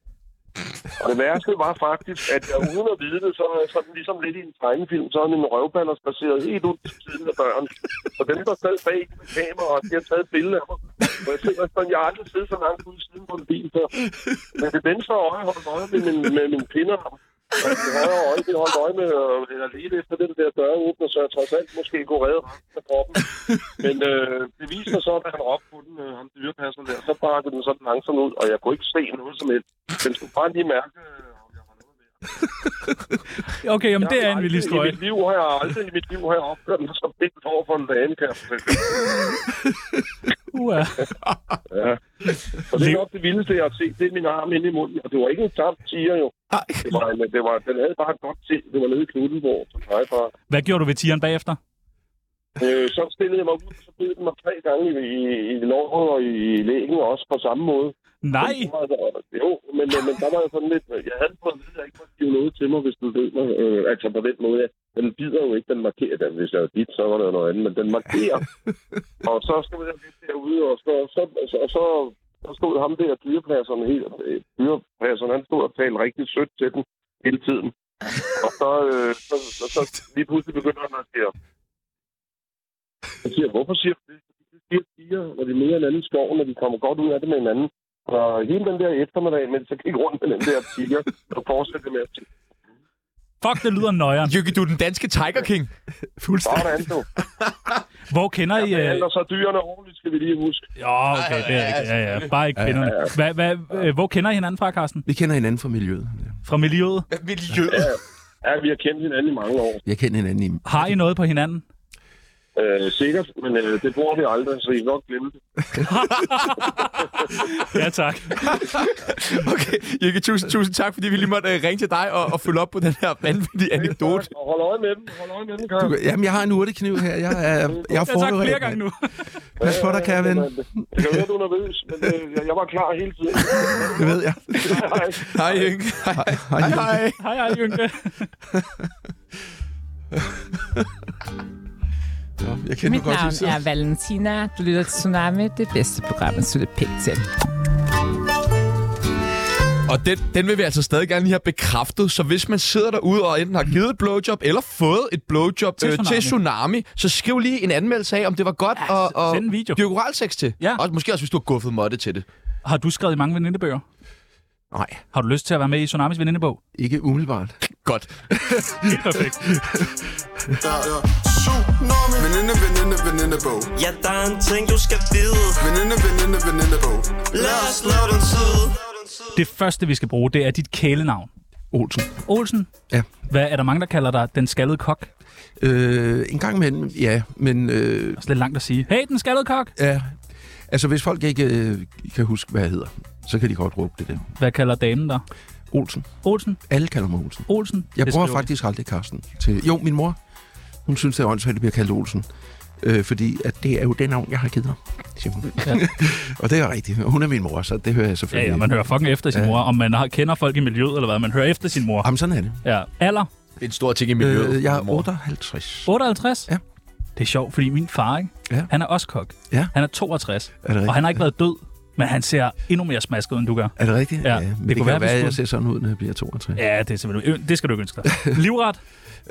Speaker 7: Og det værste var faktisk, at jeg uden at vide det, så er jeg sådan ligesom lidt i en tegnefilm, så er min røvballer spaceret helt ud til siden af døren. Og dem, der sad bag med kamera, de har taget et billede af mig. Og jeg tænker sådan, jeg har aldrig siddet så langt ude i siden på en bil før. Men det venstre øje holdt øje med min, med min pinderarm. Og det højre øje, det holdt øje med at lede efter den der døråbner, så jeg trods alt måske kunne redde resten af kroppen. Men øh, det viste sig så, at han råbte på den, øh, ham dyrepasseren der, så bakkede den sådan langsomt ud, og jeg kunne ikke se noget som helst. Den skulle bare lige mærke, øh, om jeg var noget med.
Speaker 2: okay, jamen, det
Speaker 7: Jeg
Speaker 2: er
Speaker 7: har
Speaker 2: en vild
Speaker 7: aldrig I
Speaker 2: historie.
Speaker 7: mit liv har jeg aldrig i mit liv har jeg opført mig så vildt over for en dame, kan jeg fortælle.
Speaker 2: Uha.
Speaker 7: Ja. Og det er nok det vildeste, jeg har set. Det er min arm inde i munden. Og det var ikke en tabt tiger, jo.
Speaker 1: Nej.
Speaker 7: Det var, en- det var, den havde bare et godt til. Det var nede i Knuttenborg, som jeg bare.
Speaker 2: Hvad gjorde du ved tigeren bagefter?
Speaker 7: Øh, så stillede jeg mig ud, og så bed den mig tre gange i, i, i låret og i lægen også på samme måde.
Speaker 2: Nej!
Speaker 7: Så var der- Jo, men, men, men der var jeg sådan lidt... Jeg havde fået at vide, at jeg ikke måtte give noget til mig, hvis den lød mig. Øh, altså på den måde, at den bider jo ikke, den markerer den. Hvis jeg var dit, så var det jo noget andet, men den markerer. og så skal man lidt derude, og så, så, så, og så, så stod ham der dyrepladserne helt... Øh, dyrepladserne, han stod og talte rigtig sødt til den hele tiden. Og så, øh, så, så, så, lige pludselig begynder han at sige, jeg siger, hvorfor siger du det? Fordi det siger piger, når de møder hinanden i skoven, når de kommer godt ud af det med hinanden. Og hele den der eftermiddag, mens jeg gik rundt med den der piger, og fortsatte med at sige,
Speaker 2: Fuck, det lyder nøjeren.
Speaker 1: Jykke, du er den danske Tiger King.
Speaker 7: sådan du.
Speaker 2: Hvor kender I... øh,
Speaker 7: Ellers så dyrene ordentligt, skal vi lige huske.
Speaker 2: Ja, okay, det er rigtigt. Ja, ja. Bare ikke kvinderne. Hvad, hvad, øh, hvor kender I hinanden fra, Carsten?
Speaker 4: Vi kender hinanden fra miljøet. ja.
Speaker 2: Fra miljøet?
Speaker 3: Miljøet.
Speaker 7: Ja, vi har kendt hinanden i mange år.
Speaker 4: Jeg kender hinanden i...
Speaker 2: Har I noget på hinanden?
Speaker 7: Øh, sikkert, men øh, det bruger vi aldrig, så I kan godt glemme det.
Speaker 2: Ja, tak.
Speaker 1: Okay, Jykke, tusind, tusind tak, fordi vi lige måtte uh, ringe til dig og, og følge op på den her vanvittige anekdote.
Speaker 7: Og hold øje med dem. Hold øje med dem, Karl.
Speaker 4: Du, jamen, jeg har en urtekniv her. Jeg er, jeg er
Speaker 2: Jeg har sagt flere
Speaker 4: forberedt.
Speaker 2: gange
Speaker 4: mand.
Speaker 2: nu. (laughs)
Speaker 4: Pas på dig, kære ven.
Speaker 7: Jeg kan høre, du er nervøs, men øh, jeg, jeg var klar hele tiden.
Speaker 4: Det ved jeg.
Speaker 7: Hej.
Speaker 1: Hej, Jykke. Hej, hej. hej.
Speaker 2: Hej, hej, Jynke.
Speaker 4: Nå, Jeg kender
Speaker 8: Mit
Speaker 4: du godt
Speaker 8: navn
Speaker 4: til
Speaker 8: er Valentina. Du lytter til Tsunami, det bedste program, at slutte pænt til.
Speaker 1: Og den, den vil vi altså stadig gerne lige have bekræftet, så hvis man sidder derude og enten har givet et blowjob eller fået et blowjob
Speaker 2: Til
Speaker 1: til, øh,
Speaker 2: Tsunami.
Speaker 1: til Tsunami, så skriv lige en anmeldelse af, om det var godt
Speaker 2: Ja,
Speaker 1: at, at
Speaker 2: send en video.
Speaker 1: dyrke oralsex til.
Speaker 2: Ja.
Speaker 1: Og måske også, hvis du har guffet måtte til det.
Speaker 2: Har du skrevet i mange venindebøger?
Speaker 4: Nej,
Speaker 2: Har du lyst til at være med i Tsunamis venindebog?
Speaker 4: ikke umiddelbart.
Speaker 1: Godt.
Speaker 2: Perfekt.
Speaker 9: Der er tsunami Veninde, veninde, veninde bog
Speaker 10: Ja, der er en ting, du skal vide.
Speaker 9: Veninde, veninde, veninde bog
Speaker 10: Lad os slå den tid.
Speaker 2: Det første, vi skal bruge, det er dit kælenavn.
Speaker 4: Olsen.
Speaker 2: Olsen?
Speaker 4: Ja.
Speaker 2: Hvad er der mange, der kalder dig den skaldede kok? Det
Speaker 4: Øh, en gang imellem, ja. Men øh,
Speaker 2: er også lidt langt at sige. Hey, den skaldede kok!
Speaker 4: ja. altså, hvis folk ikke øh, kan huske, hvad jeg hedder, så kan de godt råbe det der.
Speaker 2: Hvad kalder damen dig?
Speaker 4: Olsen.
Speaker 2: Olsen?
Speaker 4: Alle kalder mig Olsen.
Speaker 2: Olsen?
Speaker 4: Jeg
Speaker 2: Det
Speaker 4: bruger
Speaker 2: skriver vi.
Speaker 4: faktisk aldrig Carsten til... Jo, min mor, hun synes, det er åndssvagt, at det bliver kaldt Olsen. Øh, fordi at det er jo det navn, jeg har givet ham, siger hun.
Speaker 2: Ja.
Speaker 4: Ja. (laughs) og det er rigtigt. Og Hun er min mor, så det hører jeg
Speaker 2: Ja,
Speaker 4: selvfølgelig.
Speaker 2: ja, man hører fucking efter sin
Speaker 4: Ja.
Speaker 2: mor. Om man har, kender folk i miljøet eller hvad, man hører efter sin mor.
Speaker 4: Jamen, sådan er det.
Speaker 2: Ja. Alder?
Speaker 1: Det er en stor ting i miljøet.
Speaker 4: Øh, jeg er
Speaker 1: mor.
Speaker 4: 58.
Speaker 2: 58?
Speaker 4: Ja.
Speaker 2: Det er sjovt, fordi min far, ikke?
Speaker 4: Ja.
Speaker 2: han er også kok.
Speaker 4: Ja.
Speaker 2: Han er 62,
Speaker 4: Er det rigtigt?
Speaker 2: og han har ikke været død, men han ser endnu mere smasket ud, end du gør.
Speaker 4: Er det rigtigt?
Speaker 2: Ja, det
Speaker 4: men
Speaker 2: kunne
Speaker 4: det,
Speaker 2: være,
Speaker 4: det kan være,
Speaker 2: vi
Speaker 4: være, at jeg
Speaker 2: skulle-
Speaker 4: ser sådan ud, når jeg bliver 62. Ja.
Speaker 2: Ja, det er simpelthen... ø- Det skal du ikke ønske dig.
Speaker 4: (laughs)
Speaker 2: Livret?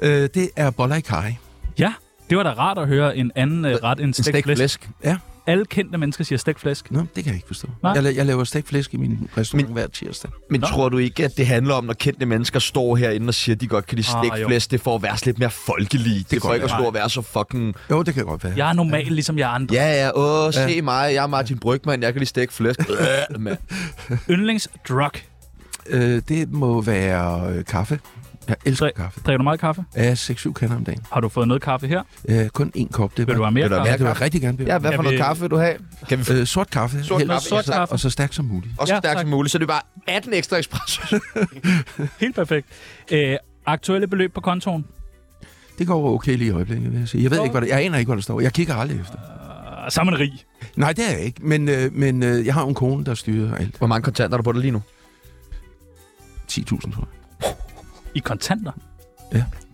Speaker 4: Øh, det er boller i kaj.
Speaker 2: Ja, det var da rart at høre en anden uh, ret end
Speaker 1: En stegt
Speaker 2: stegt flæsk.
Speaker 1: flæsk.
Speaker 2: Alle kendte mennesker siger stegt flæsk.
Speaker 4: Nå, det kan jeg ikke forstå.
Speaker 2: Nej.
Speaker 4: Jeg, la- jeg laver stegt flæsk i min restaurant hver tirsdag.
Speaker 1: Men
Speaker 2: Nå.
Speaker 1: Nå. tror du ikke, at det handler om, når kendte mennesker står herinde og siger, at de godt kan lide
Speaker 2: Ah,
Speaker 1: stegt
Speaker 2: jo.
Speaker 1: flæsk? Det får at være sådan lidt mere folkelige. Det, det
Speaker 4: kan
Speaker 1: får ikke at
Speaker 2: være.
Speaker 1: stå og være så fucking...
Speaker 4: Jo, det kan godt være.
Speaker 2: Jeg er normal, ligesom jeg andre.
Speaker 1: Ja, ja, åh, se mig, jeg er Martin Brygman, jeg kan lige stegt flæsk. Øh, mand.
Speaker 2: Yndlingsdrug.
Speaker 4: Øh, det må være øh, kaffe. Jeg elsker
Speaker 2: Drik-
Speaker 4: kaffe.
Speaker 2: Drikker du meget kaffe?
Speaker 4: Ja, 6-7 kander om dagen.
Speaker 2: Har du fået noget kaffe her?
Speaker 4: Øh, kun én kop. Det
Speaker 2: Vil du
Speaker 4: var...
Speaker 2: have mere
Speaker 1: Vil du have
Speaker 2: kaffe?
Speaker 4: Ja, det vil jeg rigtig gerne. Bjørn.
Speaker 1: Ja, hvad for
Speaker 2: vi-
Speaker 1: noget kaffe vil du have? Kan vi få
Speaker 4: Øh, sort kaffe.
Speaker 1: Sort
Speaker 4: helst.
Speaker 1: kaffe, ja, tak.
Speaker 4: Og så stærkt som muligt.
Speaker 1: og så
Speaker 2: Ja,
Speaker 1: stærkt
Speaker 2: tak.
Speaker 1: som muligt, så det er bare 18 ekstra espresso.
Speaker 2: Helt perfekt. Øh, aktuelle beløb på kontoen?
Speaker 4: Det går okay lige i øjeblikket, vil jeg sige. Jeg ved
Speaker 2: Nå.
Speaker 4: ikke, hvad der, jeg aner ikke, hvad der står. Jeg kigger aldrig efter.
Speaker 2: Uh, så er man rig.
Speaker 4: Nej, det er jeg ikke. Men, øh, men øh, jeg har jo en kone, der styrer alt.
Speaker 1: Hvor mange kontanter har du på dig lige nu?
Speaker 4: 10.000, tror jeg.
Speaker 2: I kontanter.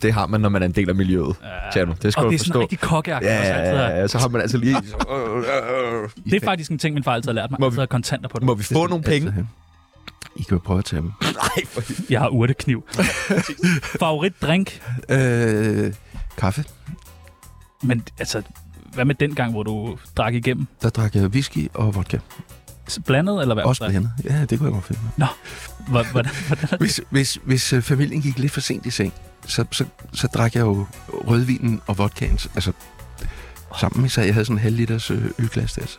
Speaker 1: Det har man, når man er en del af miljøet. Tjerno, det skal
Speaker 2: og
Speaker 1: du
Speaker 2: det er sådan
Speaker 1: forstå.
Speaker 2: en rigtig kokkeagtig.
Speaker 1: Ja,
Speaker 2: også
Speaker 1: ja,
Speaker 2: altid at-
Speaker 1: ja, ja, så har man altså lige... (laughs)
Speaker 2: Det er faktisk en ting, min far altid har lært mig.
Speaker 1: Må
Speaker 2: Altid
Speaker 1: vi-
Speaker 2: at have kontanter på det.
Speaker 1: Må vi få nogle penge?
Speaker 4: Altså, I kan jo prøve at tage dem.
Speaker 2: Jeg har
Speaker 1: (laughs)
Speaker 2: urtekniv. Favoritdrink?
Speaker 4: Øh, kaffe.
Speaker 2: Men altså, hvad med den gang, hvor du drak igennem?
Speaker 4: Der drak jeg whisky og vodka.
Speaker 2: S- Blandet, eller hvad?
Speaker 4: Også blandet. Ja, det kunne jeg godt finde. mig.
Speaker 2: Hvordan, hvordan, hvordan er det?
Speaker 4: Hvis, hvis, hvis øh, familien gik lidt for sent i seng, så, så, så drak jeg jo rødvinen og vodkaen. Altså, sammen så jeg havde sådan en halv liters øh, ølglas der. så-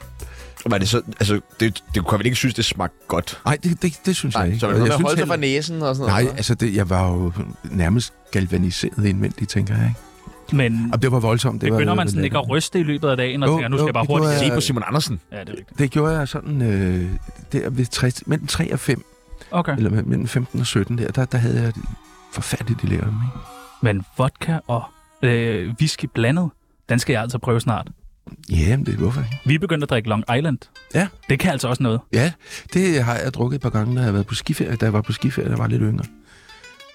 Speaker 1: Var det så... Altså, det, det kunne jeg vel ikke synes, det smagte godt.
Speaker 4: Nej, det, det, det synes jeg
Speaker 1: Nej,
Speaker 4: ikke.
Speaker 1: så
Speaker 4: Og
Speaker 1: man
Speaker 4: jeg
Speaker 1: kunne holde sig
Speaker 4: heller-
Speaker 1: fra næsen og sådan
Speaker 4: Nej,
Speaker 1: noget.
Speaker 4: altså det, jeg var jo nærmest galvaniseret indvendigt, tænker jeg. Ikke?
Speaker 2: Men
Speaker 4: Og det var voldsomt. Det
Speaker 2: begynder
Speaker 4: var,
Speaker 2: man sådan ikke at ryste i løbet af dagen, og
Speaker 4: Jo,
Speaker 2: tænker, nu
Speaker 4: jo,
Speaker 2: skal jeg bare
Speaker 4: det gjorde
Speaker 2: hurtigt...
Speaker 1: Se
Speaker 4: jeg-
Speaker 1: på Simon Andersen.
Speaker 2: Ja, det er rigtigt.
Speaker 4: Det gjorde jeg sådan øh, der ved 60, mellem 3 og 5,
Speaker 2: Okay.
Speaker 4: eller mellem- mellem 15 og 17 der, der, der havde jeg et forfærdeligt dilemma. Ikke?
Speaker 2: Men vodka og øh, whisky blandet, Den skal jeg altså prøve snart.
Speaker 4: Jamen, det er hvorfor ikke?
Speaker 2: Vi er begyndt at drikke Long Island.
Speaker 4: Ja.
Speaker 2: Det kan altså også noget.
Speaker 4: Ja, det har jeg drukket et par gange, når jeg har været på skiferie, da jeg var på skiferie, der var lidt yngre.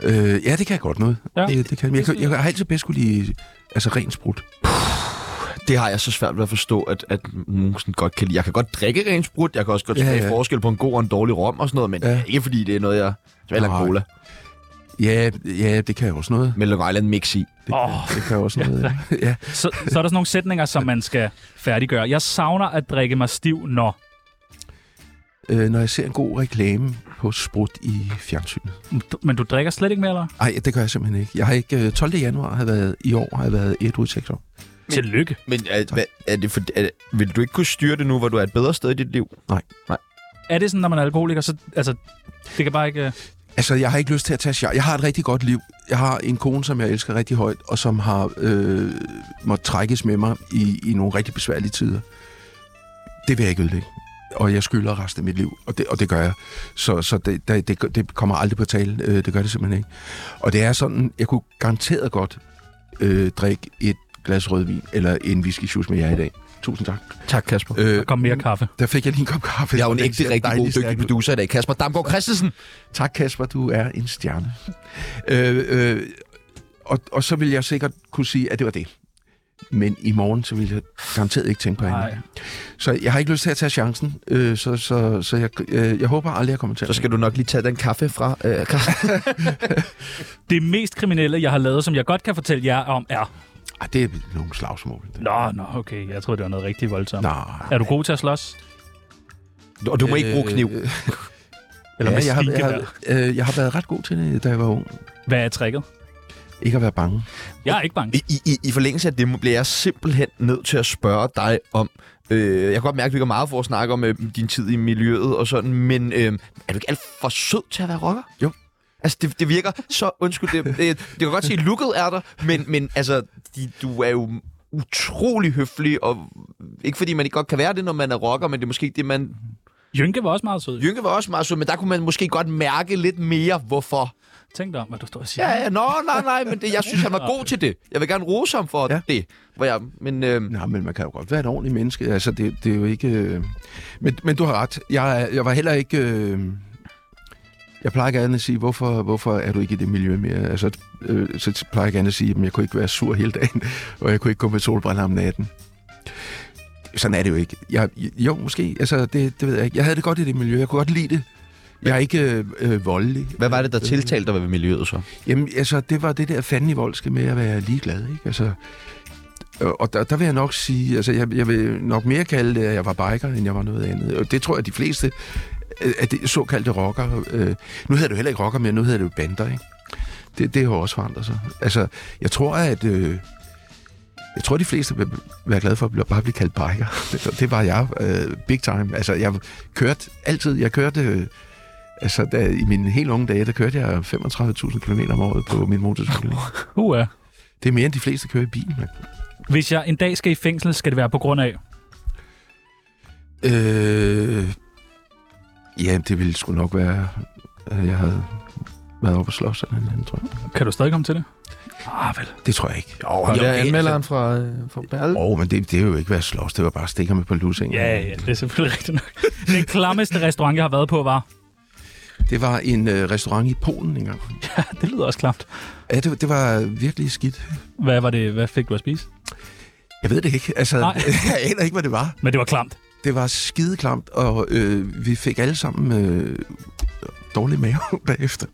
Speaker 4: Øh, ja, det kan jeg godt noget.
Speaker 2: Ja.
Speaker 4: Ja. Det, det kan, jeg, jeg, kan- jeg har altid bedst kunne lide altså, ren sprut.
Speaker 1: Det har jeg så svært ved at forstå, at, at nogen sådan godt kan lide. Jeg kan godt drikke ren sprut, jeg kan også godt
Speaker 4: Ja,
Speaker 1: smage
Speaker 4: ja.
Speaker 1: forskel på en god og en dårlig rom og sådan noget, men
Speaker 4: Ja.
Speaker 1: ja. ikke fordi det er noget, jeg... Eller
Speaker 4: Nej.
Speaker 1: cola
Speaker 4: Ja, ja, det kan jeg også noget.
Speaker 1: med Long Island mix i.
Speaker 4: Det,
Speaker 2: Åh.
Speaker 4: det kan jeg også noget. ja. ja.
Speaker 2: Så, så er der sådan nogle sætninger, som man skal færdiggøre. Jeg savner at drikke mig stiv, når...
Speaker 4: Øh, når jeg ser en god reklame på sprut i fjernsynet.
Speaker 2: Men du drikker slet ikke mere, eller?
Speaker 4: Nej, det gør jeg simpelthen ikke. Jeg har ikke... øh, 12. januar har jeg været, i år har jeg været et ud i seks år.
Speaker 2: Tillykke.
Speaker 1: Men er, hvad, er det for, er, vil du ikke kunne styre det nu, hvor du er et bedre sted i dit liv?
Speaker 2: Er det sådan, når man er alkoholiker, så... Altså, det kan bare ikke... øh,
Speaker 4: Altså, jeg har ikke lyst til at tage sjov. Jeg har et rigtig godt liv. Jeg har en kone, som jeg elsker rigtig højt, og som har øh, måttet trækkes med mig i, i nogle rigtig besværlige tider. Det vil jeg ikke ødelægge. Og jeg skylder resten af mit liv, og det, og det gør jeg. Så, så det, det, det, det kommer aldrig på tale. Øh, det gør det simpelthen ikke. Og det er sådan, jeg kunne garanteret godt øh, drikke et glas rødvin eller en whisky med jer i dag. Tusind tak.
Speaker 1: Tak, Kasper.
Speaker 4: Øh,
Speaker 2: Kom mere kaffe.
Speaker 4: der fik jeg lige en kop kaffe.
Speaker 1: Jeg er jo en
Speaker 4: Den
Speaker 1: ægte,
Speaker 4: ser
Speaker 1: rigtig god,
Speaker 4: dejlig
Speaker 1: dygtig
Speaker 4: stærk ud.
Speaker 1: producer i dag. Kasper Damgaard Christensen.
Speaker 4: Tak, Kasper, du er en stjerne. øh, øh, og, og så vil jeg sikkert kunne sige, at det var det. Men i morgen, så vil jeg garanteret ikke tænke på
Speaker 2: Nej.
Speaker 4: andet. Så jeg har ikke lyst til at tage chancen, øh, så, så, så jeg, øh, jeg håber aldrig, at jeg kommer til
Speaker 1: Så
Speaker 4: at...
Speaker 1: skal du nok lige tage den kaffe fra... Øh, (laughs) Kasper.
Speaker 2: Det mest kriminelle, jeg har lavet, som jeg godt kan fortælle jer om, er...
Speaker 4: Ej, det er nogle slagsmål.
Speaker 2: Nå, nå, okay. Jeg troede, det var noget rigtig voldsomt.
Speaker 4: Nå.
Speaker 2: Er du god til at slås?
Speaker 1: Og du må ikke bruge kniv.
Speaker 4: Øh,
Speaker 2: Eller
Speaker 4: ja,
Speaker 2: med
Speaker 4: jeg, har, jeg,
Speaker 2: skinkevær?
Speaker 4: har, øh, jeg har været ret god til det, da jeg var ung.
Speaker 2: Hvad er tricket?
Speaker 4: Ikke at være bange.
Speaker 2: Jeg er ikke bange.
Speaker 1: I, i, I forlængelse af det må- bliver jeg simpelthen nødt til at spørge dig om... Øh, jeg kan godt mærke, at vi ikke har meget for at snakke om øh, din tid i miljøet og sådan, men øh, er du ikke alt for sød til at være rocker?
Speaker 4: Jo.
Speaker 1: Altså, det, det virker så... Undskyld, det, det, det kan godt se, at looket er der, men, men altså, de, du er jo utrolig høflig, og ikke fordi man ikke godt kan være det, når man er rocker, men det er måske ikke det, man...
Speaker 2: Jynke var også meget sød.
Speaker 1: Jynke var også meget sød, men der kunne man måske godt mærke lidt mere, hvorfor.
Speaker 2: Tænk dig om, hvad du står og siger.
Speaker 1: Ja, ja, nå, nej, nej, men det, jeg synes, han var god til det. Jeg vil gerne rose ham for ja.
Speaker 4: Ja.
Speaker 1: det. Hvor jeg, men, øh,
Speaker 4: Nej, men man kan jo godt være et ordentligt menneske. Altså, det, det er jo ikke... Øh... Men, men du har ret. Jeg, er- jeg var heller ikke... Øh... Jeg plejer gerne at sige, hvorfor, hvorfor er du ikke i det miljø mere? Altså, øh, så plejer jeg gerne at sige, at jeg kunne ikke være sur hele dagen, (laughs) og jeg kunne ikke gå med solbriller om natten. Sådan er det jo ikke. Jeg, jo, måske. Altså, det, det ved jeg ikke. Jeg havde det godt i det miljø. Jeg kunne godt lide det. Jeg er ikke øh, øh, voldelig.
Speaker 1: Hvad var det, der
Speaker 4: Øh,
Speaker 1: tiltalte dig ved miljøet så?
Speaker 4: Jamen, altså, det var det der fandelig voldske med at være ligeglad, ikke? Altså, og og der, der vil jeg nok sige, altså, jeg, jeg vil nok mere kalde det, at jeg var biker, end jeg var noget andet. Og det tror jeg, de fleste øh, af de såkaldte rocker... Øh, nu hedder det jo heller ikke rocker mere, nu hedder det jo bander, ikke? Det, det har jo også forandret sig. Altså, jeg tror, at... Øh, jeg tror, de fleste vil være glade for at blive- bare blive kaldt biker. (laughs) Det, det var jeg øh, big time. Altså, jeg kørte altid... Jeg kørte... Øh, Altså, da, i mine helt unge dage, der kørte jeg 35.000 km om året på min motorcykel.
Speaker 2: Uha.
Speaker 4: Det er mere, end de fleste kører i bil. mand.
Speaker 2: Hvis jeg en dag skal i fængsel, skal det være på grund af...
Speaker 4: Øh, ja, det ville sgu nok være, at jeg havde været oppe og slås eller andet, tror jeg.
Speaker 2: Kan du stadig komme til det? Ah, vel.
Speaker 4: Det tror jeg ikke. Jo,
Speaker 1: fra, øh, fra Berl.
Speaker 4: Åh, oh, men det, det er jo ikke være slås, det var bare at stikke med på lussingen.
Speaker 2: Ja, ja, det er selvfølgelig (laughs) rigtigt nok. Den klammeste restaurant, jeg har været på, var... (laughs)
Speaker 4: Det var en øh, restaurant i Polen engang.
Speaker 2: Ja, det lyder også klamt.
Speaker 4: Ja, det, det var virkelig skidt.
Speaker 2: Hvad var det? Hvad fik du at spise?
Speaker 4: Jeg ved det ikke. Altså,
Speaker 2: Nej.
Speaker 4: (laughs) jeg aner ikke, hvad det var.
Speaker 2: Men det var klamt.
Speaker 4: Det var skideklamt, og øh, vi fik alle sammen øh, dårlig mave (laughs) bagefter.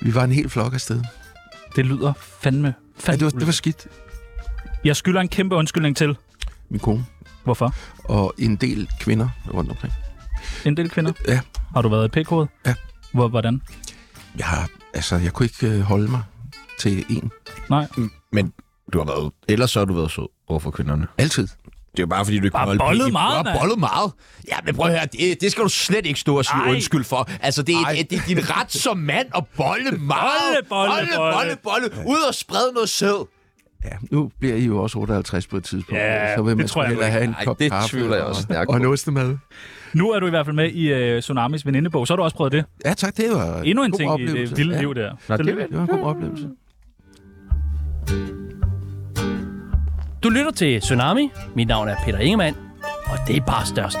Speaker 4: Vi var en hel flok afsted.
Speaker 2: Det lyder fandme...
Speaker 4: Ja,
Speaker 2: fandme
Speaker 4: det, var, det var skidt.
Speaker 2: Jeg skylder en kæmpe undskyldning til.
Speaker 4: Min kone
Speaker 2: Hvorfor?
Speaker 4: og en del kvinder rundt omkring.
Speaker 2: En del kvinder?
Speaker 4: Ja.
Speaker 2: Har du været i pk
Speaker 4: Ja.
Speaker 2: Hvor, hvordan?
Speaker 4: Jeg, har, altså, jeg kunne ikke øh, holde mig til en.
Speaker 1: Men du har været... Ellers så har du været sød overfor kvinderne.
Speaker 4: Altid.
Speaker 1: Det er jo bare, fordi du ikke
Speaker 2: Bare
Speaker 1: kunne holde
Speaker 2: bollet
Speaker 1: penge.
Speaker 2: meget,
Speaker 1: Du har
Speaker 2: mand.
Speaker 1: bollet meget. Ja, men prøv at høre, det, det skal du slet ikke stå og sige
Speaker 2: Ej.
Speaker 1: undskyld for. Altså, det er,
Speaker 4: Ej.
Speaker 1: det er din ret som mand at bolle meget.
Speaker 2: Bolle, bolle,
Speaker 1: bolle, bolle, bolle. Ud og sprede noget sæd.
Speaker 4: Ja, nu bliver I jo også 58 på et tidspunkt. øh,
Speaker 2: Ja,
Speaker 4: så vil
Speaker 2: det
Speaker 4: man
Speaker 2: tror jeg
Speaker 4: hellere
Speaker 2: nu
Speaker 4: have en
Speaker 1: Ej,
Speaker 4: kop
Speaker 1: det
Speaker 4: kaffe
Speaker 1: tvivler jeg
Speaker 4: og-
Speaker 1: også stærkt
Speaker 4: Og
Speaker 1: på.
Speaker 4: en ostemad.
Speaker 2: Nu er du i hvert fald med i øh, Tsunamis venindebog. Så har du også prøvet det.
Speaker 4: Ja, tak. Det var
Speaker 2: Endnu en
Speaker 4: god
Speaker 2: ting i
Speaker 4: oplevelse.
Speaker 2: det vilde
Speaker 4: ja.
Speaker 2: liv der.
Speaker 1: Nå, det
Speaker 4: Det var en god oplevelse.
Speaker 2: Du lytter til Tsunami. Mit navn er Peter Ingemann, og det er bare størst.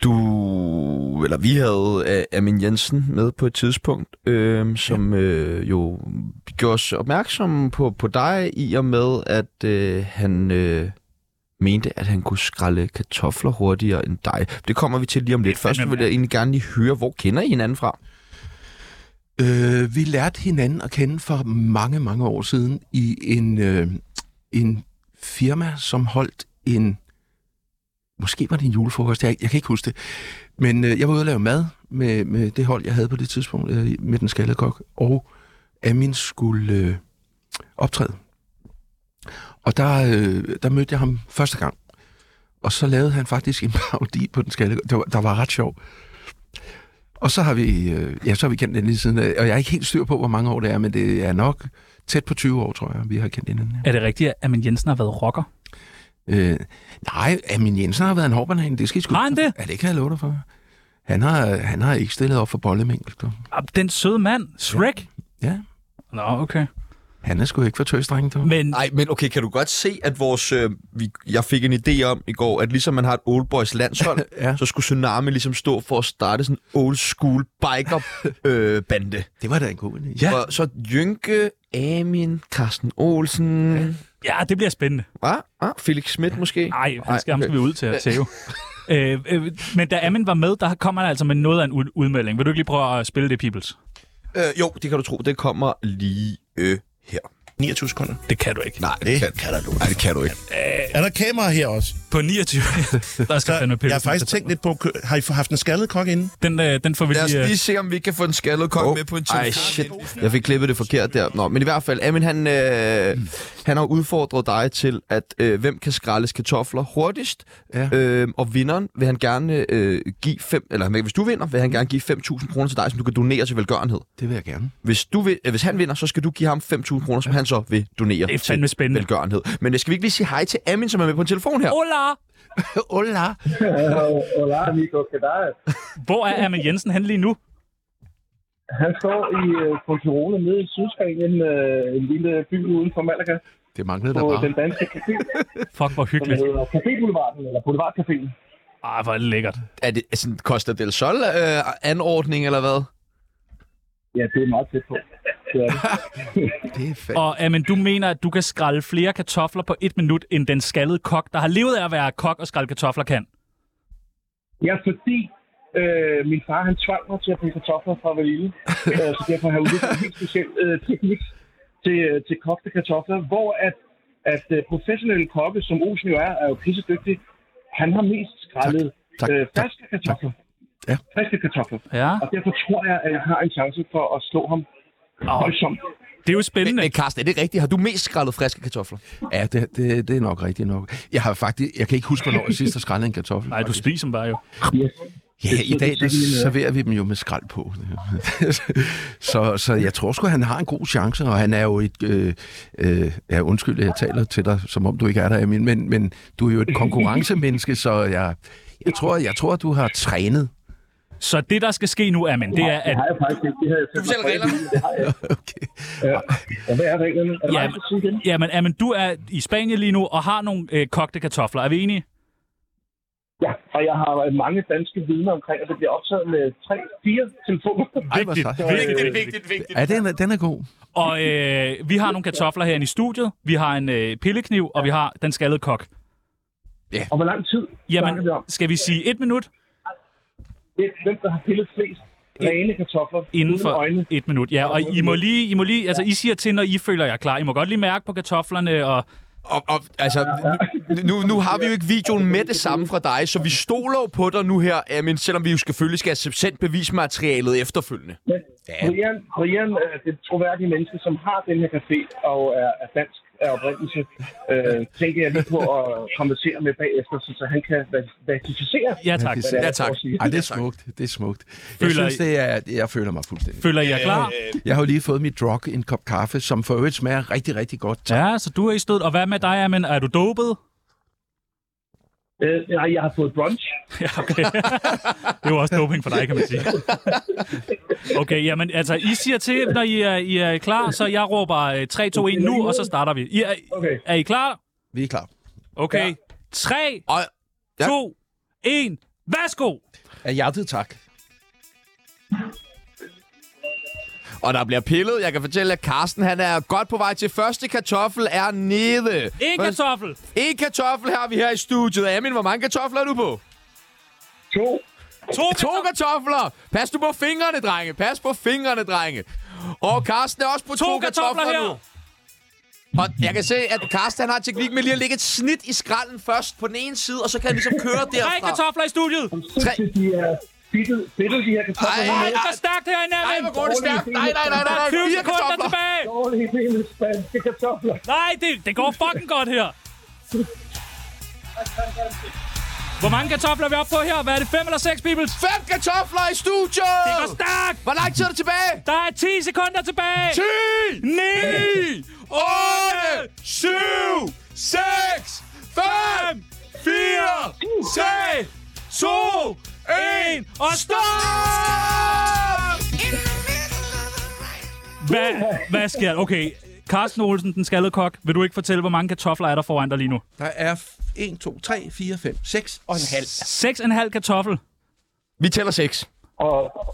Speaker 1: du, eller vi havde øh, Amin Jensen med på et tidspunkt, øh, som øh, jo gjorde os opmærksom på, på dig i og med, at øh, han øh, mente, at han kunne skrælle kartofler hurtigere end dig. Det kommer vi til lige om lidt. Først vil jeg egentlig gerne lige høre, hvor kender I hinanden fra?
Speaker 4: Øh, vi lærte hinanden at kende for mange, mange år siden i en, øh, en firma, som holdt en... Måske var det en julefrokost, jeg, jeg kan ikke huske det. Men øh, jeg var ude og lave mad med, med det hold, jeg havde på det tidspunkt, øh, med den skaldede kok, og Amin skulle øh, optræde. Og der, øh, der mødte jeg ham første gang. Og så lavede han faktisk en (laughs) parodi på den skaldede kok. Det var, der var ret sjov. Og så har vi, øh, ja, så har vi kendt den lige siden, øh, og jeg er ikke helt styr på, hvor mange år det er, men det er nok tæt på 20 år, tror jeg, vi har kendt hinanden.
Speaker 2: Er det rigtigt, at Amin Jensen har været rocker?
Speaker 4: Øh, nej, Amin Jensen har været en hårbanan, det skal I sgu.
Speaker 2: Har han det?
Speaker 4: Ja, det kan jeg love dig for. Han har, han har ikke stillet op for bollemængel.
Speaker 2: Ah, Den søde mand, Shrek?
Speaker 4: Ja.
Speaker 2: Nå, okay.
Speaker 4: Han er sgu ikke for tøsdreng, dog.
Speaker 2: Men...
Speaker 1: Nej, men okay, kan du godt se, at vores... Øh, vi, jeg fik en idé om i går, at ligesom man har et old boys landshold, ja. så skulle Tsunami ligesom stå for at starte sådan en old school biker-bande. Øh, bande.
Speaker 4: det var da en god idé.
Speaker 1: Ja. Og så Jynke, Amin, Carsten Olsen...
Speaker 2: Ja, det bliver spændende.
Speaker 1: Hvad? Ah, Felix Schmidt måske?
Speaker 2: Nej, han skal, ham skal vi ud til at
Speaker 11: (laughs)
Speaker 2: tæve. øh, øh, men da Amin var med, der kom han altså med noget af en ud- udmelding. Vil du ikke lige prøve at spille det, Peoples?
Speaker 1: Øh, jo, det kan du tro. Det kommer lige øh, her.
Speaker 11: 29 sekunder.
Speaker 2: Det kan du ikke.
Speaker 1: Nej, det, det kan, kan du ikke. Nej, det kan du ikke.
Speaker 11: Er der kamera her også?
Speaker 2: På 29. (laughs) der skal fandme
Speaker 11: Jeg har faktisk tænkt lidt på, kø- har I haft en skaldet kok inde?
Speaker 2: Den, øh, den får vi
Speaker 1: Lad os
Speaker 2: lige...
Speaker 1: lige se, om vi kan få en skaldet kok oh. med på en telefon. Ej, shit. Jeg fik klippet det forkert der. Nå, men i hvert fald, Amin, han, øh,
Speaker 2: Mm.
Speaker 1: han har udfordret dig til, at øh, hvem kan skraldes kartofler hurtigst.
Speaker 4: Ja.
Speaker 1: Øh, og vinderen vil han gerne øh, give 5... Eller hvis du vinder, vil han gerne give 5.000 kroner til dig, som du kan donere til velgørenhed.
Speaker 4: Det vil jeg
Speaker 2: (laughs)
Speaker 4: gerne.
Speaker 1: Hvis, du vil, øh, hvis han vinder, så skal du give ham 5.000 kroner, som han så vil donere
Speaker 2: Det er fandme
Speaker 1: til
Speaker 4: Mm.
Speaker 2: spændende.
Speaker 1: velgørenhed. Men øh, skal vi ikke lige sige hej til Amin, som er med på en telefon her?
Speaker 2: Hola!
Speaker 4: Hola!
Speaker 12: Hola, amigo, ¿qué tal?
Speaker 2: Hvor er Amin Jensen han lige nu?
Speaker 12: (laughs) Han står i øh, på Tirone nede i Sydspanien, øh, en lille by uden for Malaga,
Speaker 4: Det manglede der
Speaker 12: på
Speaker 4: bare.
Speaker 12: den danske café,
Speaker 2: Fuck, hvor
Speaker 12: som
Speaker 2: hyggeligt.
Speaker 12: hedder Café Boulevarden, eller Boulevardcaféen.
Speaker 2: Ah, hvor er det lækkert.
Speaker 4: Oh.
Speaker 1: Er det altså, en Costa del Sol øh, anordning, eller hvad?
Speaker 12: Ja, det er meget tæt på. Ja.
Speaker 4: Det er fedt.
Speaker 2: Og Amin, du mener, at du kan skrælle flere kartofler på et minut, end den skaldede kok, der har levet af at være kok og skrælle kartofler, kan?
Speaker 12: ja, fordi øh, min far han tvang mig til at pille kartofler fra
Speaker 4: (laughs)
Speaker 12: Valille, øh, så derfor har jeg udviklet en helt speciel øh, teknik til, øh, til kogte kartofler, hvor at, at øh, professionelle kokke, som Olsen jo er, er jo pissedygtig, han har mest skrællet
Speaker 4: tak,
Speaker 12: øh, friske kartofler.
Speaker 4: Ja.
Speaker 12: Friske kartofler.
Speaker 2: Ja.
Speaker 12: Og derfor tror jeg, at jeg har en chance for at slå ham voldsomt.
Speaker 2: Det er jo spændende.
Speaker 1: Men, men Carsten, Øh, er det rigtigt? Har du mest skrællet friske kartofler?
Speaker 4: Ja, det, det, det, er nok rigtigt nok. Jeg har faktisk, jeg kan ikke huske, hvornår jeg sidst har skrællet
Speaker 1: (laughs)
Speaker 4: en kartoffel.
Speaker 2: Nej, du spiser dem bare jo.
Speaker 4: Ja, i dag der serverer vi dem jo med skrald på. (laughs) så, så jeg tror sgu, han har en god chance, og han er jo et... Øh, øh, ja, undskyld, jeg taler til dig, som om du ikke er der, Amin, men, men du er jo et konkurrencemenneske, så jeg, jeg, tror, jeg tror, du har trænet.
Speaker 2: Så det, der skal ske nu, Amin, det er, at...
Speaker 12: Jeg faktisk ikke, det havde jeg selv
Speaker 1: selv
Speaker 12: reglerne? Det har jeg. okay. Ja. Og hvad er reglerne? Er det
Speaker 2: Ja,
Speaker 12: mig, der skal sige igen?
Speaker 2: Jamen, Amin, du er i Spanien lige nu og har nogle øh, kogte kartofler. Er vi enige?
Speaker 12: Ja, og jeg har mange danske vidner omkring, og det bliver optaget med 3-4 telefoner.
Speaker 4: Ej, hvor sejt.
Speaker 12: vigtigt, vigtigt.
Speaker 4: Ja, den er, den er god.
Speaker 2: Og øh, vi har nogle kartofler herinde i studiet. Vi har en øh, pillekniv, og vi har den skaldede kok.
Speaker 12: Og hvor lang tid snakker vi
Speaker 2: Jamen,
Speaker 12: om?
Speaker 2: skal vi sige et minut?
Speaker 12: Det, hvem der har pillet flest rene kartofler
Speaker 2: Inden for
Speaker 12: uden øjne.
Speaker 2: et minut, ja. Og I må lige, I må lige altså I siger til, når I føler jer klar. I må godt lige mærke på kartoflerne, og
Speaker 1: Og, og altså, nu, nu har vi jo ikke videoen med det samme fra dig, så vi stoler jo på dig nu her, Amin, selvom vi jo selvfølgelig skal have sendt bevismaterialet efterfølgende.
Speaker 12: Brian, Brian er det troværdige menneske, som har den her café og er, er dansk af oprindelse, øh, tænker jeg lige på at konversere med bagefter, så, så han kan va- verificere.
Speaker 2: ja tak.
Speaker 12: hvad det er, jeg prøver at sige.
Speaker 4: Ej, det er smukt. Det er smukt. Jeg
Speaker 2: Føler
Speaker 4: synes,
Speaker 2: I-
Speaker 4: det er, jeg føler mig fuldstændig.
Speaker 2: Føler I jer klar?
Speaker 4: Jeg har jo lige fået mit drug, en kop kaffe, som for øvrigt smager rigtig, rigtig godt.
Speaker 2: Ja, så du er i stød. Og hvad med dig, Amin? Er du dopet?
Speaker 12: Øh, nej, jeg har fået brunch.
Speaker 2: Ja, okay. Det var også doping for dig, kan man sige. Okay, jamen altså, I siger til, når I er, I er klar, så jeg råber øh, 3, 2, 1 nu, og så starter vi. I er, okay. er I klar?
Speaker 1: Vi er klar.
Speaker 2: Okay. Ja. 3, og, ja. 2, 1, værsgo!
Speaker 1: Af hjertet tak. Og der bliver pillet. Jeg kan fortælle, at Carsten han er godt på vej til. Første kartoffel er nede.
Speaker 2: En
Speaker 1: Først-
Speaker 2: kartoffel!
Speaker 1: En kartoffel har vi her i studiet. Amin, hvor mange kartofler er du på?
Speaker 12: To.
Speaker 2: To,
Speaker 1: to kartofler! Pas du på fingrene, drenge. Pas på fingrene, drenge. Og Carsten er også på to,
Speaker 2: To kartofler her.
Speaker 1: nu. Og jeg kan se, at Carsten han har teknik med lige at lægge et snit i skralden først på den ene side, og så kan han ligesom køre derfra.
Speaker 2: Tre kartofler i studiet!
Speaker 1: Tre.
Speaker 12: De er fedtet, fedtet de her kartofler.
Speaker 1: Ej,
Speaker 12: her.
Speaker 2: Ej, det går stærkt herinde,
Speaker 1: Nej,
Speaker 2: Amin!
Speaker 1: hvor går det stærkt. Nej, nej, nej, nej,
Speaker 2: Der er
Speaker 1: nej.
Speaker 2: 20
Speaker 1: Fire
Speaker 2: sekunder
Speaker 1: kartofler.
Speaker 2: tilbage!
Speaker 12: Dårlige hele spanske kartofler.
Speaker 2: Nej, det, det går fucking godt her. Hvor mange kartofler er vi oppe på her? Hvad er det, fem eller seks, Bibels?
Speaker 1: Fem kartofler i studiet!
Speaker 2: Det går stærkt!
Speaker 1: Hvor lang tid er der tilbage?
Speaker 2: Der er 10 sekunder tilbage!
Speaker 1: 10,
Speaker 2: 9!
Speaker 1: 8, 7, 6, 5, 4, 3, 2, 1,
Speaker 2: og
Speaker 1: stop!
Speaker 2: Hvad, hvad sker der? Okay, Carsten Olsen, den skaldede kok. Vil du ikke fortælle, hvor mange kartofler er der foran dig lige nu?
Speaker 4: Der er 1, 2, 3, 4, 5, 6 og en halv.
Speaker 2: Seks og en halv kartoffel.
Speaker 1: Vi tæller 6.
Speaker 12: Og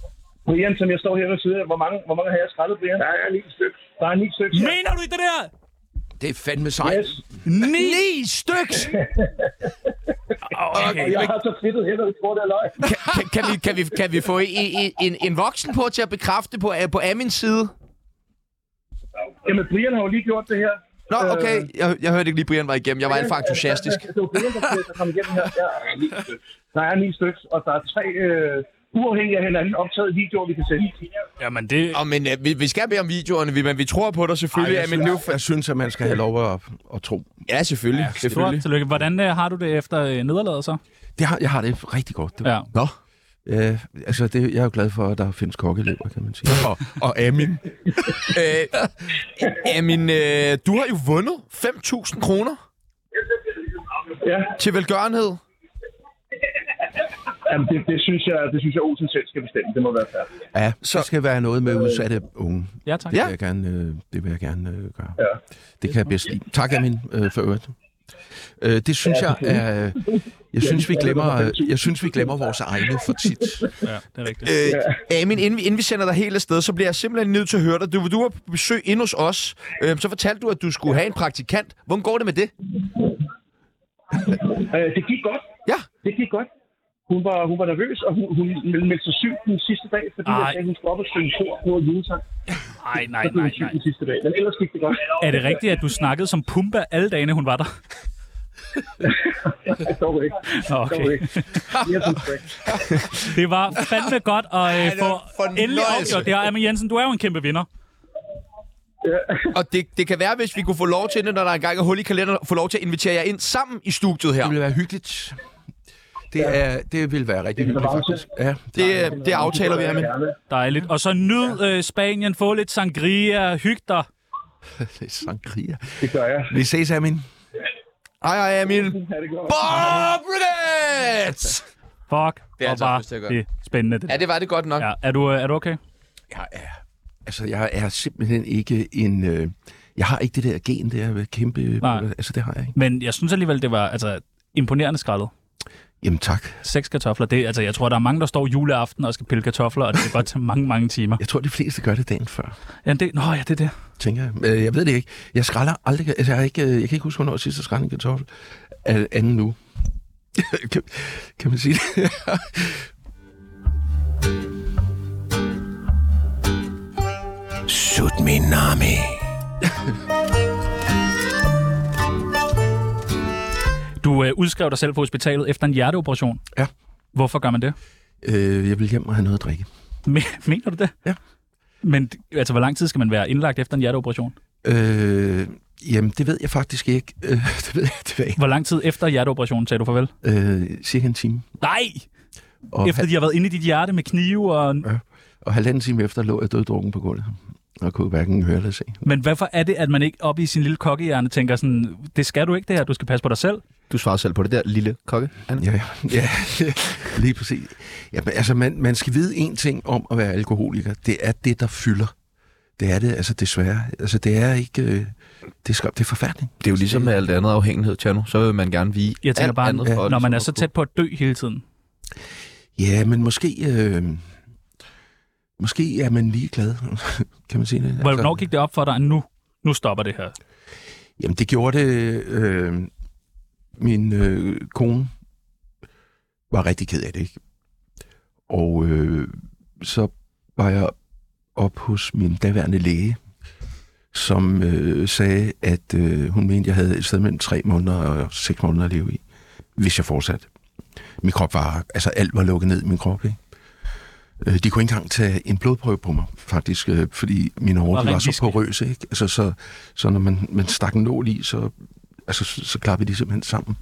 Speaker 12: Brian, som jeg står her ved siden af, hvor mange, hvor mange har jeg skrællet, Brian? Der er ni stykker. Der er ni stykker.
Speaker 2: Mener du i det der?
Speaker 4: Det er fandme sejt.
Speaker 12: Yes.
Speaker 4: Yes.
Speaker 1: 9 styks!
Speaker 12: Og jeg har så fedtet hænder, vi tror, det er løg.
Speaker 1: Kan, kan, vi, kan, vi, kan vi få i, i, en, en voksen på til at bekræfte på, øh, på Amins side?
Speaker 12: Jamen, Brian har jo lige gjort det her.
Speaker 1: Nå, okay. Jeg, jeg hørte ikke lige, Brian var igennem. Jeg var alt for
Speaker 12: (laughs)
Speaker 1: entusiastisk.
Speaker 12: Det var Brian, der, der kom igennem her. Der er ni stykker. Der er ni stykker, og der er tre øh, uafhængige af hinanden optaget videoer, vi kan sende.
Speaker 2: Jamen, det...
Speaker 1: Og, men øh, vi, vi skal bede om videoerne, vi, men vi tror på dig selvfølgelig.
Speaker 4: jeg,
Speaker 1: Ej, Amin, nu,
Speaker 4: synes, jeg synes, at man skal have lov at, at tro.
Speaker 1: ja, selvfølgelig. Ja,
Speaker 2: Stort
Speaker 1: selvfølgelig.
Speaker 2: tillykke. Hvordan øh, har du det efter øh, nederlaget så?
Speaker 4: Det har, jeg har det rigtig godt. Det,
Speaker 2: Ja.
Speaker 1: Nå.
Speaker 4: øh, altså, det, jeg er jo glad for, at der findes kokkelever, kan man sige. Og, og Amin.
Speaker 1: Øh, Amin, øh, du har jo vundet 5.000 kroner
Speaker 12: Ja,
Speaker 1: til velgørenhed.
Speaker 12: jamen, det, det, synes jeg, det synes jeg, Olsen selv skal bestemme. Det må være fair.
Speaker 4: Ja, så skal være noget med udsatte unge.
Speaker 2: Ja, tak.
Speaker 4: Det
Speaker 1: Ja.
Speaker 4: vil jeg gerne, øh, det vil jeg gerne øh, gøre.
Speaker 12: Ja.
Speaker 4: Det kan jeg bedst lide. Tak, Amin, øh, for øvrigt. Øh, det synes jeg er... Øh, jeg synes, vi glemmer, øh, jeg synes, vi glemmer vores egne for tit.
Speaker 2: Ja, det er rigtigt.
Speaker 1: Øh, Amin, inden vi, inden vi sender dig helt afsted, så bliver jeg simpelthen nødt til at høre dig. Du, du var på besøg inde hos os. Øh, så fortalte du, at du skulle have en praktikant. Hvordan går det med det?
Speaker 12: Øh, det gik godt.
Speaker 1: Ja.
Speaker 12: Det gik godt. Hun var, hun var nervøs, og hun, hun meldte sig syg den sidste dag, fordi
Speaker 2: Ej.
Speaker 12: jeg sagde, hun skulle op og synge kor på julesang.
Speaker 2: Nej, nej,
Speaker 12: Så blev
Speaker 2: nej,
Speaker 12: hun syg
Speaker 2: nej.
Speaker 12: den sidste dag, men ellers gik det godt.
Speaker 2: Er det rigtigt, at du snakkede som Pumba alle dagene, hun var der? (laughs)
Speaker 12: Dog ikke.
Speaker 2: Nå,
Speaker 12: Dog
Speaker 2: okay.
Speaker 12: ikke. Mere som sagt.
Speaker 2: (laughs) Det var fandme godt at øh,
Speaker 1: det
Speaker 2: få
Speaker 1: var fornøjelse.
Speaker 2: endelig opgjort det her. Amin Jensen, du er jo en kæmpe vinder.
Speaker 1: Og det, det kan være, hvis vi kunne få lov til det, når der engang er hul i kalenderen, få lov til at invitere jer ind sammen i studiet her.
Speaker 4: Det vil være hyggeligt. Det, er, det vil være rigtig
Speaker 12: Det vil
Speaker 4: hyggeligt,
Speaker 12: være
Speaker 4: faktisk. Ja,
Speaker 1: Det, øh, det aftaler vi, Amin.
Speaker 12: Gerne.
Speaker 2: Dejligt. Og så nyd øh, Spanien, få lidt sangria, hyg dig.
Speaker 4: det er sangria.
Speaker 12: Det gør jeg.
Speaker 4: Vi ses, Amin.
Speaker 1: Ej, ej, Amin.
Speaker 12: Ha' det godt.
Speaker 1: Bobrenet!
Speaker 2: Fuck,
Speaker 1: Det er
Speaker 2: hvor
Speaker 1: altså
Speaker 2: var
Speaker 1: også, det er godt.
Speaker 2: det spændende. Det.
Speaker 1: Ja, det var det godt nok.
Speaker 2: Ja, er du, øh, er du okay?
Speaker 4: Jeg er, altså, jeg er simpelthen ikke en... Øh, jeg har ikke det der gen der ved kæmpe...
Speaker 2: Nej.
Speaker 4: Altså, det har jeg ikke.
Speaker 2: Men jeg synes alligevel, det var altså, imponerende skrællet.
Speaker 4: Jamen, tak.
Speaker 2: Seks kartofler. Det, altså, jeg tror, der er mange, der står juleaften og skal pille kartofler, og det kan godt tage mange, mange timer.
Speaker 4: Jeg tror, de fleste gør det dagen før.
Speaker 2: Ja, det, nå ja, det er det.
Speaker 4: tænker jeg. Øh, Jeg ved det ikke. Jeg skræller aldrig... Altså, jeg, har ikke, øh, jeg kan ikke huske, hvornår jeg sidst jeg skrællede en kartoffel. Øh, Anden nu. (laughs) kan, kan man sige det? (laughs)
Speaker 5: Sut min nami.
Speaker 2: Du øh, udskrev dig selv på hospitalet efter en hjerteoperation.
Speaker 4: Ja.
Speaker 2: Hvorfor gør man det?
Speaker 4: øh, jeg vil hjem og have noget at drikke.
Speaker 2: Me- Mener du det?
Speaker 4: Ja.
Speaker 2: Men altså, hvor lang tid skal man være indlagt efter en hjerteoperation?
Speaker 4: Øh, jamen, det ved jeg faktisk ikke. Øh, (laughs) det ved jeg, det ved jeg ikke.
Speaker 2: Hvor lang tid efter hjerteoperationen sagde du farvel?
Speaker 4: Øh, cirka en time.
Speaker 2: Nej!
Speaker 4: Og,
Speaker 2: Efter de har været inde i dit hjerte med knive og...
Speaker 4: og halvanden time efter lå jeg døddrukken på gulvet. Og kunne hverken høre eller se.
Speaker 2: Men hvorfor er det, at man ikke oppe i sin lille kokkehjerne tænker sådan, det skal du ikke det her, du skal passe på dig selv?
Speaker 1: Du svarer selv på det der lille kokke, Anne.
Speaker 4: Ja, ja, (laughs) ja lige præcis. Ja, men, altså, man, man skal vide én ting om at være alkoholiker. Det er det, der fylder. Det er det, altså desværre. Altså, det er ikke... Øh, det, er, skam- det er forfærdeligt.
Speaker 1: Det er jo ligesom med alt andet afhængighed, Tjerno. Så vil man gerne vige
Speaker 2: Jeg tænker
Speaker 1: alt
Speaker 2: bare,
Speaker 1: andet
Speaker 2: ja.
Speaker 1: folk,
Speaker 2: når man
Speaker 1: som
Speaker 2: er så tæt på at dø hele tiden.
Speaker 4: Ja, men måske... Øh, måske er man ligeglad, (laughs) kan man sige det. Altså,
Speaker 2: Hvornår gik det op for dig, at nu, nu stopper det her?
Speaker 4: Jamen, det gjorde det... Øh, min øh, kone var rigtig ked af det, ikke? Og øh, så var jeg op hos min daværende læge, som øh, sagde, at øh, hun mente, jeg havde et sted mellem tre måneder og seks måneder at leve i, hvis jeg fortsatte. Min krop var... Altså, alt var lukket ned i min krop, ikke? Øh, De kunne ikke engang tage en blodprøve på mig, faktisk, øh, fordi mine
Speaker 2: Var
Speaker 4: hårde de var
Speaker 2: rent
Speaker 4: så
Speaker 2: whisky.
Speaker 4: porøse. Ikke? Altså, så, så når man, man stak en nål i, så, altså, så, så klappede de simpelthen sammen.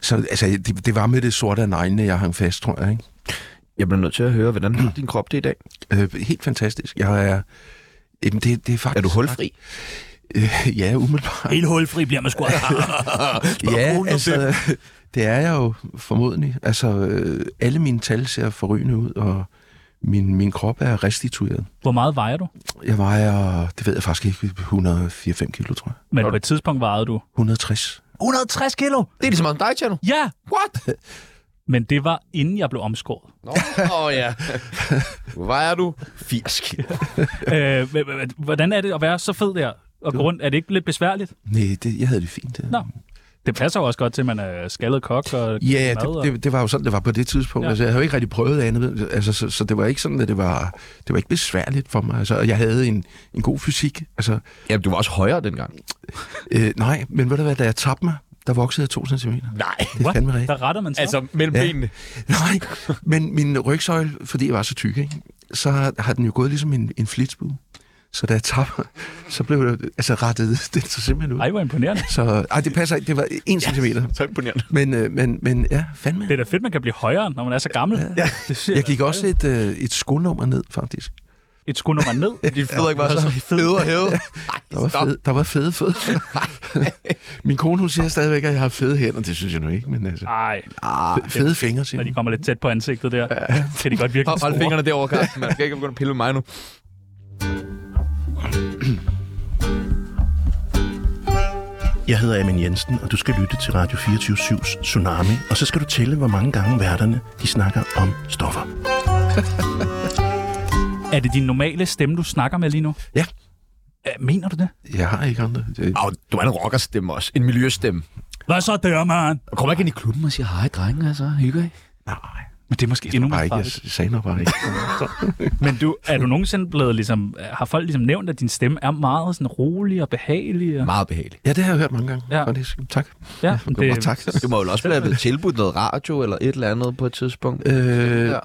Speaker 4: Så altså, det, det var med det sorte af neglene, jeg hang fast, tror jeg. Ikke?
Speaker 1: Jeg bliver nødt til at høre, hvordan har din krop det i dag?
Speaker 4: Øh, helt fantastisk. Jeg er... Jamen, det, det er faktisk...
Speaker 1: Er du hulfri?
Speaker 4: Øh, ja, umiddelbart.
Speaker 2: Helt hulfri bliver man sgu.
Speaker 4: ja, altså, det er jeg jo formodentlig. Altså, øh, alle mine tal ser forrygende ud, og min, min krop er restitueret.
Speaker 2: (laughs) Hvor meget vejer du?
Speaker 4: Jeg vejer, det ved jeg faktisk ikke, 104-5 kilo, tror jeg.
Speaker 2: Men på et tidspunkt vejede du.
Speaker 4: 160.
Speaker 1: 160 kilo? Det er ligesom om dig, Tjerno.
Speaker 2: Ja!
Speaker 1: What?
Speaker 2: Men det var inden jeg blev omskåret.
Speaker 1: Nå, oh, ja. (laughs) Hvor vejer du? 80 kilo.
Speaker 2: øh, h- h- h- hvordan er det at være så fed der? Og gå rundt, er det ikke lidt besværligt?
Speaker 4: Nej, det, jeg havde det fint. Ja.
Speaker 2: Nå. Det passer jo også godt til, at man er skaldet kok og
Speaker 4: Ja,
Speaker 2: mad.
Speaker 4: det,
Speaker 2: og...
Speaker 4: det, det var jo sådan, det var på det tidspunkt.
Speaker 2: Ja.
Speaker 4: Ja. Altså, jeg havde jo ikke rigtig prøvet andet, altså, så, så det var ikke sådan, at det var, det var ikke besværligt for mig. Altså, og jeg havde en, en god fysik. Altså,
Speaker 1: ja, du var også højere dengang.
Speaker 4: Øh, nej, men ved du hvad, da jeg tabte mig, der voksede jeg to centimeter.
Speaker 1: Nej.
Speaker 4: Det er fandme rigtigt. (laughs)
Speaker 2: Der retter man
Speaker 1: (laughs)
Speaker 2: sig.
Speaker 1: Altså, mellem
Speaker 4: Ja.
Speaker 1: benene.
Speaker 4: Nej, men min rygsøjle, fordi jeg var så tyk, ikke? så har- har den jo gået ligesom en, en flitsbue. Så da jeg tabte, så blev det altså rettet (laughs) den så simpelthen ud.
Speaker 2: Ej, hvor imponerende.
Speaker 4: Så, ej, det passer ikke. Det var 1 centimeter.
Speaker 1: Så imponerende.
Speaker 4: Men, øh, men, men ja, fandme.
Speaker 2: Det er da fedt, man kan blive højere, når man er så gammel. Ja.
Speaker 4: Jeg gik også et, øh, et skonummer ned, faktisk.
Speaker 2: Et skonummer ned.
Speaker 1: Din Frederik var så fede og (laughs) hævet.
Speaker 4: Der var,
Speaker 1: stop.
Speaker 4: fede, der var
Speaker 2: (laughs)
Speaker 4: fede fødder. Min kone, hun siger stadigvæk, at jeg har fede hænder. Det synes jeg nu ikke, men altså...
Speaker 2: Ej,
Speaker 4: Fe- Fede fingre, siger
Speaker 2: Ah, når de
Speaker 4: hun.
Speaker 2: kommer lidt tæt på ansigtet der, kan de godt virke
Speaker 1: Hold, hold
Speaker 2: store.
Speaker 1: fingrene derovre, Carsten. (laughs) Man skal ikke begynde at pille med mig nu.
Speaker 13: Jeg hedder Amin Jensen, og du skal lytte til Radio 24-7's Tsunami, og så skal du tælle, hvor mange gange værterne de snakker om stoffer.
Speaker 2: Er det din normale stemme, du snakker med lige nu?
Speaker 4: Ja.
Speaker 2: Øh, Mener du det?
Speaker 4: Jeg har ikke andre. Det,
Speaker 1: Au, du er en rockerstemme også. En miljøstemme.
Speaker 2: Hvad så der, man?
Speaker 1: Og kommer ikke ind i klubben og siger, hej drenge, altså, hygger I?
Speaker 2: Men det er måske endnu
Speaker 4: bare
Speaker 2: mere
Speaker 4: ikke. Jeg
Speaker 2: farligt.
Speaker 4: sagde nok bare ikke.
Speaker 2: Men du, er du nogensinde blevet ligesom, har folk ligesom nævnt, at din stemme er meget sådan rolig og behagelig? Og...
Speaker 1: Meget behageligt.
Speaker 4: Ja, det har jeg hørt mange gange.
Speaker 2: Ja.
Speaker 4: Ja. Faktisk. Tak.
Speaker 2: Ja,
Speaker 4: det... Godt, tak.
Speaker 1: Du må jo også være blevet tilbudt noget radio eller et eller andet på et tidspunkt.
Speaker 4: Øh,
Speaker 1: Ja.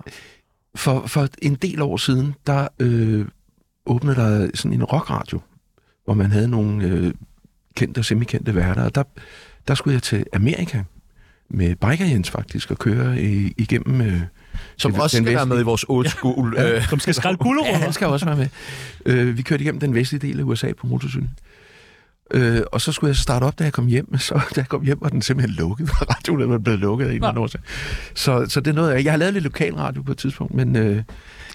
Speaker 4: for, for en del år siden, der øh, åbnede der sådan en rockradio, hvor man havde nogle øh, kendte og semikendte værter, og der, der skulle jeg til Amerika med Biker Jens faktisk, og køre i, igennem... Øh,
Speaker 1: Som
Speaker 4: den-
Speaker 1: også
Speaker 4: den
Speaker 1: skal være
Speaker 4: vestlige-
Speaker 1: med i vores old school. Øh,
Speaker 2: Som skal skrælle
Speaker 4: Ja,
Speaker 2: gulerødder.
Speaker 4: han skal også være med. Øh, vi kørte igennem den vestlige del af USA på motorcykel. Øh, og så skulle jeg starte op, da jeg kom hjem. Så da jeg kom hjem, var den simpelthen lukket. (laughs) Radioen var blevet lukket af en eller anden årsag. Så, så det er noget, jeg, jeg har lavet lidt lokalradio på et tidspunkt, men, øh,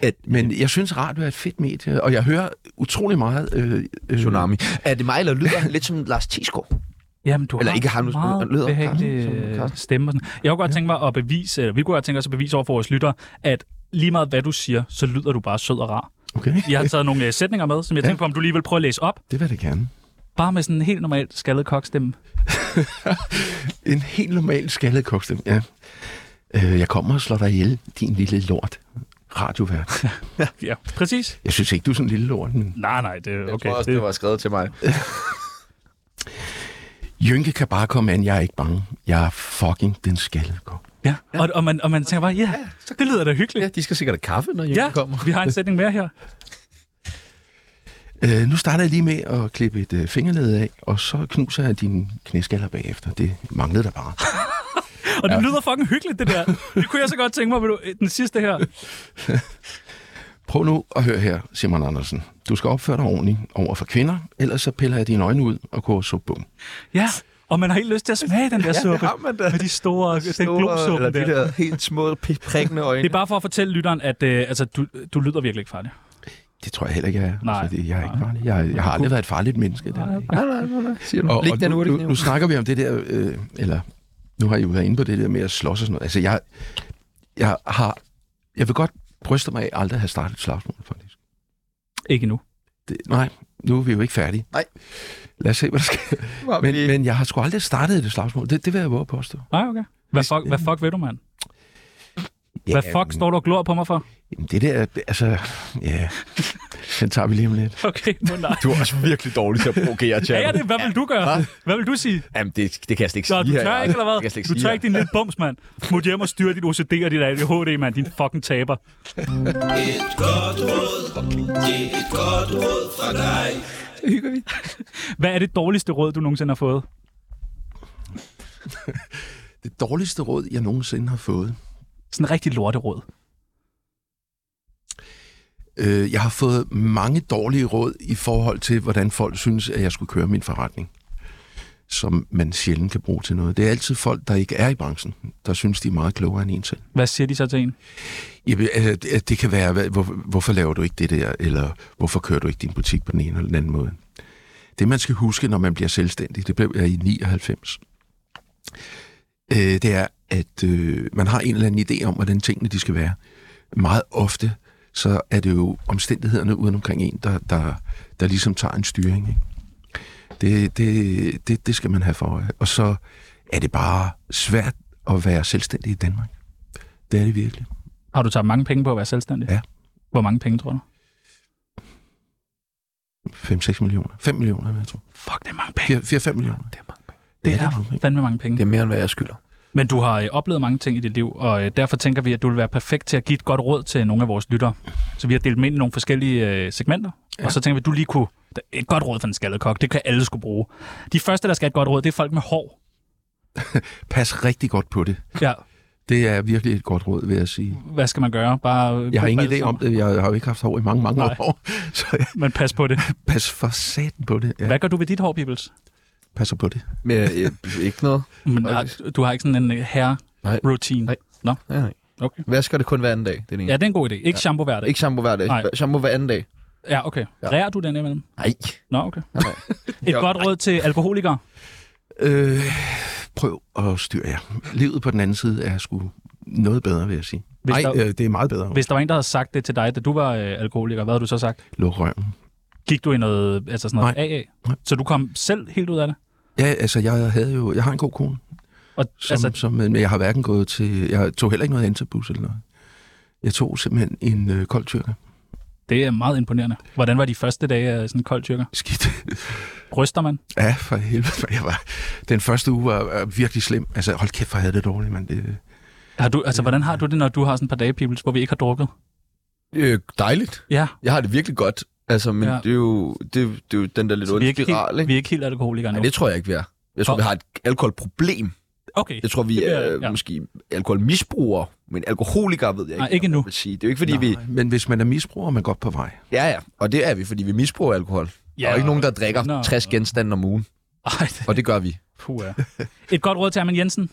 Speaker 1: At-
Speaker 4: men jeg synes, radio er et fedt medie, og jeg hører utrolig meget... Øh, øh,
Speaker 1: tsunami. Er det mig, eller lyder han lidt som Lars Tisgaard?
Speaker 2: Jamen, du
Speaker 1: Eller
Speaker 2: har
Speaker 1: ikke har nu-
Speaker 2: meget
Speaker 1: lyder Carsten,
Speaker 2: behagelig
Speaker 1: som
Speaker 2: øh,
Speaker 1: Carsten.
Speaker 2: stemme. og Sådan. Jeg kunne godt tænke mig at bevise, eller vi kunne godt tænke os at bevise over for vores lytter, at lige meget hvad du siger, så lyder du bare sød og rar.
Speaker 4: Okay,
Speaker 2: Jeg har taget nogle øh, sætninger med, som jeg
Speaker 4: Ja.
Speaker 2: tænkte på, om du lige vil prøve at læse op.
Speaker 4: (laughs) det var det gerne.
Speaker 2: Bare med sådan en helt normal skaldet kokstemme.
Speaker 4: En helt normal skaldet kokstemme, ja. Øh, jeg kommer og slår dig ihjel, din lille lort. Radiovært.
Speaker 2: Ja, præcis.
Speaker 4: Jeg synes ikke, du er sådan en lille lort, men...
Speaker 2: Nej, nej, det er okay.
Speaker 1: Jeg tror også, det var skrevet til mig.
Speaker 4: Jynke kan bare komme an, jeg er ikke bange. Jeg er fucking den skal gå.
Speaker 2: Ja, og, og, man, og man tænker bare, ja, det lyder da hyggeligt.
Speaker 1: Ja, de skal sikkert have kaffe, når Jørgen
Speaker 2: Ja,
Speaker 1: kommer.
Speaker 2: vi har en sætning mere her.
Speaker 4: Øh, nu starter jeg lige med at klippe et øh, fingerled af, og så knuser jeg dine knæskaller bagefter. Det manglede der bare.
Speaker 2: Og det lyder fucking hyggeligt, det der. Det kunne jeg så godt tænke mig, vil du, den sidste her.
Speaker 4: Prøv nu at høre her, Simon Andersen. Du skal opføre dig ordentligt over for kvinder, ellers så piller jeg dine øjne ud og går så bum.
Speaker 2: Ja, Og man har helt lyst til at smage den
Speaker 1: (laughs)
Speaker 2: der
Speaker 1: Ja, det
Speaker 2: suppe.
Speaker 1: har man da.
Speaker 2: Med de store,
Speaker 1: Store-
Speaker 2: den glosuppe
Speaker 1: eller de der helt små prikkende øjne.
Speaker 2: Det er bare for at fortælle lytteren, at øh, altså, du, du lyder virkelig ikke farlig.
Speaker 4: Det tror jeg heller ikke, jeg er.
Speaker 2: Nej.
Speaker 4: Altså, det, jeg er ikke farlig. Jeg, jeg har aldrig været et farligt menneske. Det. har jeg ikke.
Speaker 1: Nej, nej, nej, nej. Siger du.
Speaker 4: Og,
Speaker 1: Læg
Speaker 4: og
Speaker 1: den
Speaker 4: Mm, nu,
Speaker 1: hurtigt
Speaker 4: nu,
Speaker 1: ned.
Speaker 4: nu snakker vi om det der, øh, eller nu har I jo været inde på det der med at slås og sådan noget. Altså, jeg, jeg har, jeg vil godt bryste mig af aldrig at have startet et slagsmål, faktisk.
Speaker 2: Ikke nu.
Speaker 4: Det, nej, nu er vi jo ikke færdige.
Speaker 1: Nej.
Speaker 4: Lad os se, hvad der sker.
Speaker 1: Var vi
Speaker 4: Men,
Speaker 1: ikke.
Speaker 4: men jeg har sgu aldrig startet et slagsmål. Det, det vil jeg våge at påstå.
Speaker 2: Nej, okay. Hvad fuck, hvad fuck ved du, mand? Hvad fuck står du og glor på mig for?
Speaker 4: Jamen, det der, altså, ja, den tager vi lige om lidt.
Speaker 2: Okay, må nej.
Speaker 1: Du er også virkelig dårlig til at provokere,
Speaker 2: Ja,
Speaker 1: Tjerno.
Speaker 2: ja, det, hvad vil du gøre? Hvad vil du sige?
Speaker 1: Jamen, det, det kan jeg slet ikke
Speaker 2: Nå,
Speaker 1: sige
Speaker 2: du
Speaker 1: her,
Speaker 2: tør
Speaker 1: Jacob.
Speaker 2: ikke, eller
Speaker 1: Det kan jeg slet
Speaker 2: hvad?
Speaker 1: ikke
Speaker 2: Du
Speaker 1: sige
Speaker 2: tør
Speaker 1: her.
Speaker 2: ikke din lille bums, mand. Mut hjem og styre dit OCD og dit ADHD, mand. Din fucking taber.
Speaker 10: Et godt råd, det er et godt råd fra dig.
Speaker 2: hygger vi. Hvad er det dårligste råd, du nogensinde har fået?
Speaker 4: Det dårligste råd, jeg nogensinde har fået.
Speaker 2: Sådan en rigtig lorteråd.
Speaker 4: Øh, jeg har fået mange dårlige råd i forhold til, hvordan folk synes, at jeg skulle køre min forretning. Som man sjældent kan bruge til noget. Det er altid folk, der ikke er i branchen, der synes, de er meget klogere end en selv.
Speaker 2: Hvad siger de så til en?
Speaker 4: Jamen, altså, det- det kan være, hvad- hvor, hvorfor laver du ikke det der, eller hvorfor kører du ikke din butik på den ene eller den anden måde. Det, man skal huske, når man bliver selvstændig, det blev jeg i 99, øh, det er, at øh, man har en eller anden idé om, hvordan tingene de skal være. Meget ofte, så er det jo omstændighederne uden omkring en, der, der, der ligesom tager en styring. Ikke? Det, det, det, det skal man have for øje. Og så er det bare svært at være selvstændig i Danmark. Det er det virkelig.
Speaker 2: Har du taget mange penge på at være selvstændig?
Speaker 4: Ja.
Speaker 2: Hvor mange penge, tror du?
Speaker 4: 5-6 millioner. 5 millioner, jeg tror.
Speaker 2: Fuck, det er mange
Speaker 4: 4-5 millioner.
Speaker 2: Det
Speaker 4: Ja, det er
Speaker 2: er fandme mange penge.
Speaker 1: Det er mere, end hvad jeg skylder.
Speaker 2: Men du har øh, oplevet mange ting i dit liv, og øh, derfor tænker vi, at du vil være perfekt til at give et godt råd til nogle af vores lyttere. Så vi har delt dem ind i nogle forskellige øh, segmenter, ja. og så tænker vi, at du lige kunne... Et godt råd for en skaldet kok, det kan alle skulle bruge. De første, der skal have et godt råd, det er folk med hår.
Speaker 4: Pas rigtig godt på det.
Speaker 2: Ja,
Speaker 4: Det er virkelig et godt råd, vil jeg sige.
Speaker 2: hvad skal man gøre? Bare øh,
Speaker 4: Jeg har ingen idé
Speaker 2: balsam.
Speaker 4: om det. Jeg har jo ikke haft hår i mange, mange
Speaker 2: Nej.
Speaker 4: år. (laughs) Så jeg
Speaker 2: Men pas på det.
Speaker 4: pas for satan på det.
Speaker 2: Ja.
Speaker 4: Jeg
Speaker 2: Hvad gør du ved dit hår, Peoples?
Speaker 4: passer på det.
Speaker 1: Men jeg, jeg, ikke noget.
Speaker 2: Men, øh, du har ikke sådan en hair
Speaker 1: Nej.
Speaker 2: routine.
Speaker 1: Nej.
Speaker 2: Nå.
Speaker 1: Nej, nej.
Speaker 2: Okay.
Speaker 1: Vasker det kun hver anden dag, det er det
Speaker 2: Ja, det er en god idé. Ikke shampoo hver dag.
Speaker 1: Ikke shampoo hver dag.
Speaker 2: Nej.
Speaker 1: Shampoo hver anden dag.
Speaker 2: Ja, okay. Ja. Rærer du den imellem?
Speaker 1: Nej.
Speaker 2: Nå, okay.
Speaker 1: Nej, nej.
Speaker 2: Et godt råd til alkoholikere.
Speaker 4: Øh, prøv at styre jer. Livet på den anden side er sgu noget bedre, vil jeg sige.
Speaker 2: Hvis
Speaker 4: Nej,
Speaker 2: der-
Speaker 4: øh, det er meget bedre.
Speaker 2: Hvis der var en, der havde sagt det til dig, da du var øh, alkoholiker, hvad havde du så sagt?
Speaker 4: Luk røven.
Speaker 2: Gik du i noget, altså sådan noget
Speaker 4: Nej.
Speaker 2: AA? Så du kom selv helt ud af det?
Speaker 4: Ja, altså, jeg havde jo... Jeg har en god kone.
Speaker 2: Og,
Speaker 4: Som,
Speaker 2: altså,
Speaker 4: altså, som, men jeg har hverken gået til... Jeg tog heller ikke noget antabus eller noget. Jeg tog simpelthen en øh, kold tyrker.
Speaker 2: det er meget imponerende. Hvordan var de første dage af sådan en kold tyrker?
Speaker 4: Skidt.
Speaker 2: Bryster man?
Speaker 4: Ja, for helvede. for Jeg var, den første uge var, var virkelig slem. Altså, hold kæft, for jeg havde det dårligt, mand. Det,
Speaker 2: Har du, altså, hvordan har du det, når du har sådan et par dage, Pibels, hvor vi ikke har drukket?
Speaker 1: Øh, dejligt.
Speaker 2: Ja,
Speaker 1: Jeg har det virkelig godt. Altså, men
Speaker 2: Ja.
Speaker 1: ja. det, er jo, det, det er jo den der lidt
Speaker 2: så vi er
Speaker 1: onde
Speaker 2: ikke,
Speaker 1: spiral,
Speaker 2: helt,
Speaker 1: ikke?
Speaker 2: vi er ikke helt alkoholikere nu.
Speaker 1: Nej, det tror jeg ikke, vi er. Jeg tror,
Speaker 2: Nå.
Speaker 1: vi har et alkoholproblem.
Speaker 2: Okay,
Speaker 1: Jeg tror, vi
Speaker 2: Det
Speaker 1: er
Speaker 2: er-
Speaker 1: ja.
Speaker 2: ja.
Speaker 1: måske alkoholmisbrugere, men alkoholikere ved jeg ikke.
Speaker 2: Nej, ikke
Speaker 1: hvad man
Speaker 2: endnu.
Speaker 1: vil Sige. Det er jo ikke, fordi vi...
Speaker 4: Nej, men hvis man er misbruger, er man godt på vej.
Speaker 1: Ja, ja. Og det er vi, fordi vi misbruger alkohol. Ja,
Speaker 2: Ja,
Speaker 1: der er jo ikke nogen, der
Speaker 2: og-
Speaker 1: drikker
Speaker 2: Nå.
Speaker 1: 60 genstande om ugen.
Speaker 2: Ej,
Speaker 1: Og det gør vi.
Speaker 2: puh, ja. Et godt råd til Armin Jensen.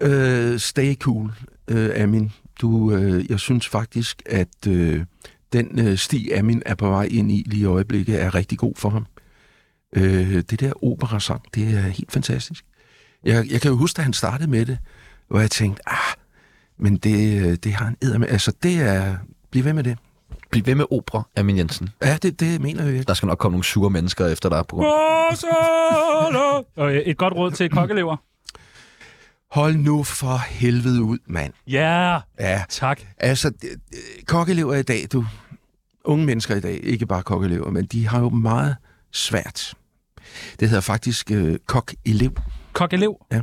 Speaker 4: Øh, stay cool, øh, Amin. Du, øh, jeg synes faktisk, at øh, den øh, sti, Amin er på vej ind i lige i øjeblikket, er rigtig god for ham. Øh, det der operasang, det er helt fantastisk. Jeg, jeg kan jo huske, da han startede med det, hvor jeg tænkte, ah, men det, øh, det har han æder med. Altså, det er... Bliv ved med det.
Speaker 1: Bliv ved med opera, Amin Jensen.
Speaker 4: Ja, det, det mener jeg virkelig.
Speaker 1: Der skal nok komme nogle sure mennesker efter dig. På grund.
Speaker 2: Og øh, et godt råd til kokkelever.
Speaker 4: Hold nu for helvede ud, mand.
Speaker 2: Ja,
Speaker 4: Ja,
Speaker 2: tak.
Speaker 4: altså, det- det- kokkelever i dag, du. Unge mennesker i dag, ikke bare kokkelever, men de har jo meget svært. Det hedder faktisk øh, kokelev.
Speaker 2: Kokkelev?
Speaker 4: Ja.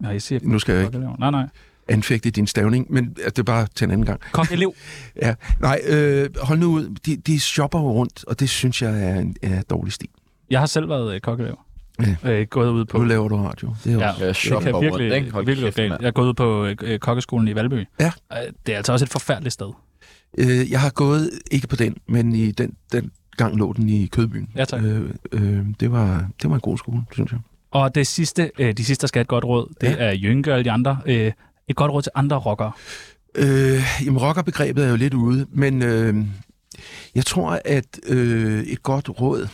Speaker 2: Nej, jeg siger
Speaker 4: Nu skal jeg jo ikke
Speaker 2: kokkelever. Nej, nej.
Speaker 4: anfægte din stavning, men altså, det er bare til en anden gang.
Speaker 2: Kokkelev.
Speaker 4: Ja. Nej, øh, hold nu ud. De, de shopper jo rundt, og det synes jeg er en er dårlig stil.
Speaker 2: Jeg har selv været øh, kokkelever.
Speaker 4: Ja.
Speaker 2: Øh, gået ud på...
Speaker 4: Nu laver du radio. Det er jo
Speaker 2: Ja,
Speaker 4: også-
Speaker 1: Ja,
Speaker 2: det
Speaker 1: shopper
Speaker 2: kan
Speaker 1: rundt,
Speaker 2: virkelig,
Speaker 1: ikke? Hold
Speaker 2: virkelig
Speaker 1: kæft,
Speaker 2: gå galt.
Speaker 1: mand.
Speaker 2: Jeg er gået ud på øh, øh, kokkeskolen i Valby.
Speaker 4: Ja.
Speaker 2: Øh, Det er altså også et forfærdeligt sted.
Speaker 4: Øh, jeg har gået, ikke på den, men i den, den gang lå den i Kødbyen.
Speaker 2: Ja, tak.
Speaker 4: Øh, øh, det, var, det var en god skole, synes jeg.
Speaker 2: Og det sidste, øh, de sidste, der skal have et godt råd, det ja. er Jynke og alle de andre. Øh, et godt råd til andre rockere.
Speaker 4: Øh, jamen, rockerbegrebet er jo lidt ude, men øh, jeg tror, at øh, et godt råd...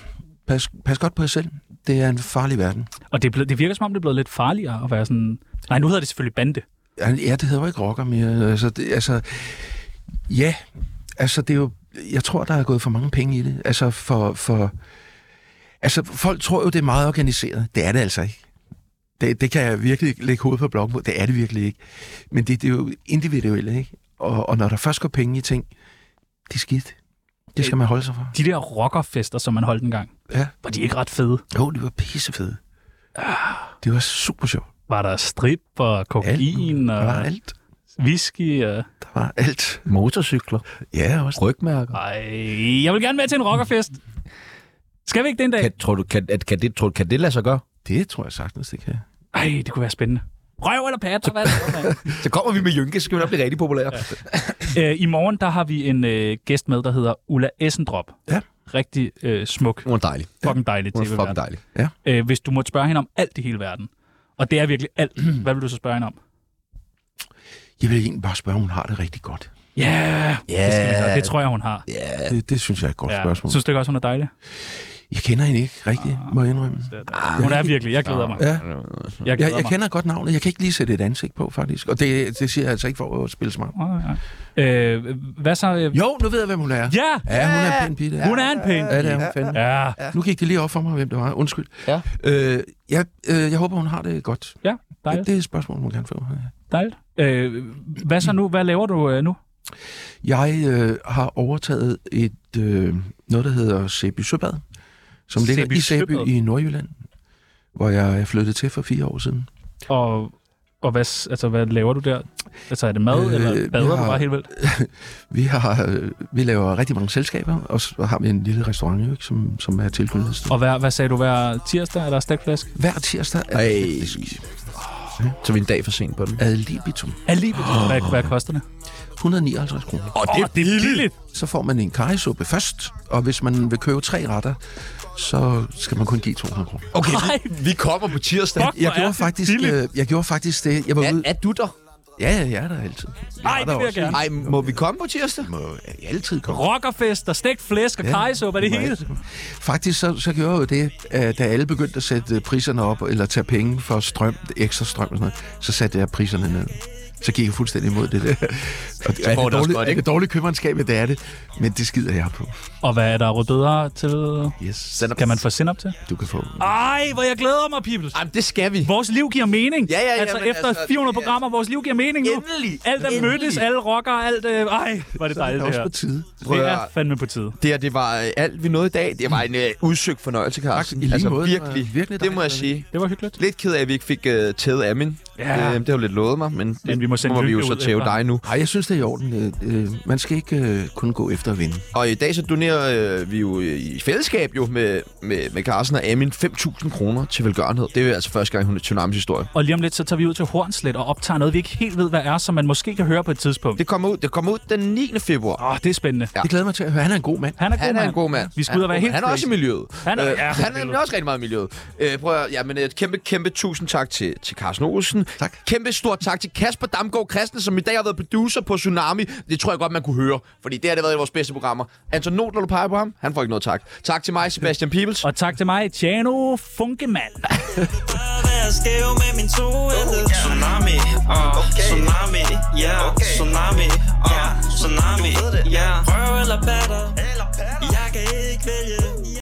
Speaker 4: Pas, pas godt på jer selv. Det er en farlig verden.
Speaker 2: Og det, er blevet, det virker som om, det er blevet lidt farligere at være sådan... Nej, nu hedder det selvfølgelig bande.
Speaker 4: Ja, det hedder jo ikke rocker mere. Altså, det, altså, ja, altså det er jo... Jeg tror, der er gået for mange penge i det. Altså, for, for, altså folk tror jo, det er meget organiseret. Det er det altså ikke. Det, det kan jeg virkelig lægge hovedet på blokken på. Det er det virkelig ikke. Men det, det er jo individuelt, ikke? Og, og når der først går penge i ting, det er skidt. Det skal man holde sig for.
Speaker 2: De der rockerfester, som man holdt en gang,
Speaker 4: Ja.
Speaker 2: var de ikke ret fede?
Speaker 4: Jo, de var pissefede. Det var super sjovt.
Speaker 2: Var der strip og kokain og...
Speaker 4: Der var alt.
Speaker 2: Whisky og...
Speaker 4: Der var alt.
Speaker 1: Motorcykler.
Speaker 4: Ja, også.
Speaker 1: Rygmærker.
Speaker 2: Ej, jeg vil gerne med til en rockerfest. Skal vi ikke den dag?
Speaker 1: Kan, tror du, kan, at, kan, det, tror, du, kan det lade sig gøre?
Speaker 4: Det tror jeg sagtens, det kan.
Speaker 2: Ej, det kunne være spændende. Røv eller pat, hvad er det? mand?
Speaker 4: (laughs)
Speaker 1: Så kommer vi med Jynke, så skal vi nok blive rigtig populære. Ja.
Speaker 2: Øh, I morgen, der har vi en øh, gæst med, der hedder Ulla Essendrop.
Speaker 4: Ja.
Speaker 2: Rigtig øh, smuk.
Speaker 1: Hun er dejlig.
Speaker 2: Fucking dejlig
Speaker 1: Hun er
Speaker 2: tv-vært.
Speaker 1: fucking dejlig.
Speaker 4: Ja.
Speaker 2: Øh, hvis du måtte spørge hende om alt i hele verden, og det er virkelig
Speaker 4: (clears throat)
Speaker 2: alt, hvad vil du så spørge hende om?
Speaker 4: Jeg vil egentlig bare spørge, om hun har det rigtig godt.
Speaker 2: Ja, yeah,
Speaker 4: Ja.
Speaker 2: yeah. det tror jeg, hun har.
Speaker 1: Yeah.
Speaker 4: Det, det synes jeg er et godt
Speaker 2: Ja.
Speaker 4: ja. spørgsmål.
Speaker 2: Synes du ikke også, hun er dejlig?
Speaker 4: Jeg kender hende ikke rigtigt, må jeg indrømme.
Speaker 2: Ah, hun er virkelig, jeg glæder mig.
Speaker 4: Ja.
Speaker 2: Jeg
Speaker 4: Jeg,
Speaker 2: glæder
Speaker 4: jeg, jeg
Speaker 2: mig.
Speaker 4: kender godt navnet, jeg kan ikke lige sætte et ansigt på, faktisk. Og det, det siger jeg altså ikke for at spille smart.
Speaker 2: Øh, hvad så? Øh...
Speaker 4: Jo, nu ved jeg, hvem hun er.
Speaker 2: Ja!
Speaker 4: Ja, hun er en pæn pige.
Speaker 2: Hun er en pæn
Speaker 4: Ja, det er hun
Speaker 2: pige.
Speaker 4: fandme.
Speaker 2: Ja.
Speaker 4: Nu gik det lige op for mig, hvem det var. Undskyld.
Speaker 1: Ja.
Speaker 4: Øh, jeg, øh, jeg håber, hun har det godt.
Speaker 2: Ja, dejligt.
Speaker 4: Det er et spørgsmål, hun gerne få.
Speaker 2: Dejligt. Øh, hvad så nu? Hvad laver du øh, nu?
Speaker 4: Jeg øh, har overtaget et øh, noget, der hedder Sæby Søbad, som ligger
Speaker 2: Sæby
Speaker 4: i Sæby
Speaker 2: Søbad?
Speaker 4: i Nordjylland, hvor jeg er flyttet til for fire år siden.
Speaker 2: Og, og hvad, s- altså, hvad laver du der? Altså, er det mad, øh, eller bader har... du bare helt vildt?
Speaker 4: vi, har, øh, vi laver rigtig mange selskaber, og så har vi en lille restaurant, jo, ikke, som, som er tilknyttet.
Speaker 2: Og hvad, hvad sagde du hver tirsdag? Er der stegflæsk?
Speaker 4: Hver tirsdag er
Speaker 1: Ej. Så er vi en dag for sent på den.
Speaker 4: Ad libitum.
Speaker 2: Ad libitum. Hvad, hvad koster det?
Speaker 4: 159 kroner.
Speaker 1: Og det, oh, det er billigt.
Speaker 4: Så får man en karrisuppe først, og hvis man vil købe tre retter, så skal man kun give 200 kroner.
Speaker 1: Okay, vi, vi kommer på tirsdag.
Speaker 4: Jeg, jeg, gjorde faktisk, øh, jeg gjorde faktisk det. Jeg var
Speaker 1: Er,
Speaker 4: ude.
Speaker 1: er du der?
Speaker 4: Ja, ja, jeg er der altid.
Speaker 2: Ej, det vil jeg gerne.
Speaker 1: Ej, må vi komme på tirsdag?
Speaker 4: Må jeg altid komme.
Speaker 2: Rockerfest og stegt flæsk og
Speaker 4: Ja.
Speaker 2: kajsuppe, er det hele?
Speaker 4: Faktisk så, så gjorde jeg jo det, at da alle begyndte at sætte øh, priserne op, eller tage penge for strøm, ekstra strøm og sådan noget, så satte jeg priserne ned. Så gik jeg fuldstændig imod
Speaker 1: (laughs)
Speaker 4: det der. Og det er,
Speaker 1: får det
Speaker 4: det
Speaker 1: også
Speaker 4: dårligt,
Speaker 1: godt,
Speaker 4: godt,
Speaker 1: ikke?
Speaker 4: er det dårligt købmandskab, det er det, men det skider jeg på.
Speaker 2: Og hvad er der råd bedre til?
Speaker 4: Yes.
Speaker 2: Kan man få op til?
Speaker 4: Du kan få.
Speaker 2: Ej, hvor jeg glæder mig, people.
Speaker 1: Jamen, det skal vi.
Speaker 2: Vores liv giver mening.
Speaker 1: Ja, ja, ja,
Speaker 2: Altså
Speaker 1: men
Speaker 2: efter
Speaker 1: altså,
Speaker 2: 400 programmer, vores liv giver mening nu.
Speaker 1: Endelig.
Speaker 2: Alt er
Speaker 1: Endelig.
Speaker 2: mødtes, alle rocker, alt... Øh, ej, var det dejligt
Speaker 4: Det er
Speaker 2: det
Speaker 4: også
Speaker 2: her.
Speaker 4: på tide.
Speaker 1: Prøv
Speaker 2: Det
Speaker 1: at-
Speaker 2: er fandme på tide.
Speaker 1: Det her, det var øh, alt, vi nåede i dag. Det var en øh, udsøgt fornøjelse, Carsten.
Speaker 4: Tak, i lige
Speaker 1: altså,
Speaker 4: måde. Det var
Speaker 1: virkelig.
Speaker 4: virkelig
Speaker 1: det må jeg
Speaker 4: dejligt.
Speaker 1: sige.
Speaker 2: Det var hyggeligt.
Speaker 1: Lidt ked af, at vi ikke fik øh, tævet Amin.
Speaker 2: Ja.
Speaker 1: Øh, det har jo lidt lovet mig, men,
Speaker 2: Men vi må sende
Speaker 1: må vi jo
Speaker 2: Lykke
Speaker 1: så
Speaker 2: ud
Speaker 1: tæve
Speaker 2: efter.
Speaker 1: dig nu.
Speaker 4: Nej, jeg synes, det er i orden. Øh, øh, Man skal ikke øh, kun gå efter at vinde.
Speaker 1: Og i dag så donerer øh, vi jo øh, i fællesskab jo med, med, med Carsten og Amin 5.000 kroner til velgørenhed. Det er jo altså første gang i Hun- Tsunamis historie.
Speaker 2: Og lige om lidt, så tager vi ud til Hornslet og optager noget, vi ikke helt ved, hvad er, som man måske kan høre på et tidspunkt.
Speaker 1: Det kommer ud, det kommer ud den 9. februar.
Speaker 2: Åh, oh, det er spændende.
Speaker 4: Det glæder mig til at høre. Han er en god mand.
Speaker 2: Han er, god,
Speaker 1: Han er
Speaker 2: mand.
Speaker 1: en god mand.
Speaker 2: Vi skal ud og være
Speaker 1: han,
Speaker 2: helt
Speaker 1: Han er
Speaker 2: crazy.
Speaker 1: også i miljøet.
Speaker 2: Han er-
Speaker 1: Øh,
Speaker 2: ja, for
Speaker 1: han er nemlig
Speaker 2: helvede.
Speaker 1: også rigtig meget i miljøet. Øh, prøv at, ja, men et kæmpe, kæmpe tusind tak til, til Carsten Olsen.
Speaker 4: Tak.
Speaker 1: Kæmpe stort tak til Kasper Damgaard Christen, som i dag har været producer på Tsunami. Det tror jeg godt, man kunne høre, fordi det har det været i vores bedste programmer. Anton Not, når du peger på ham, han får ikke noget tak. Tak til mig, Sebastian Peebles.
Speaker 2: Og tak til mig, Tjano Funkemann.
Speaker 10: være skæv med min toende Tsunami, ah, tsunami, ja Tsunami, ah, tsunami, ja Røv eller patter, jeg kan ikke vælge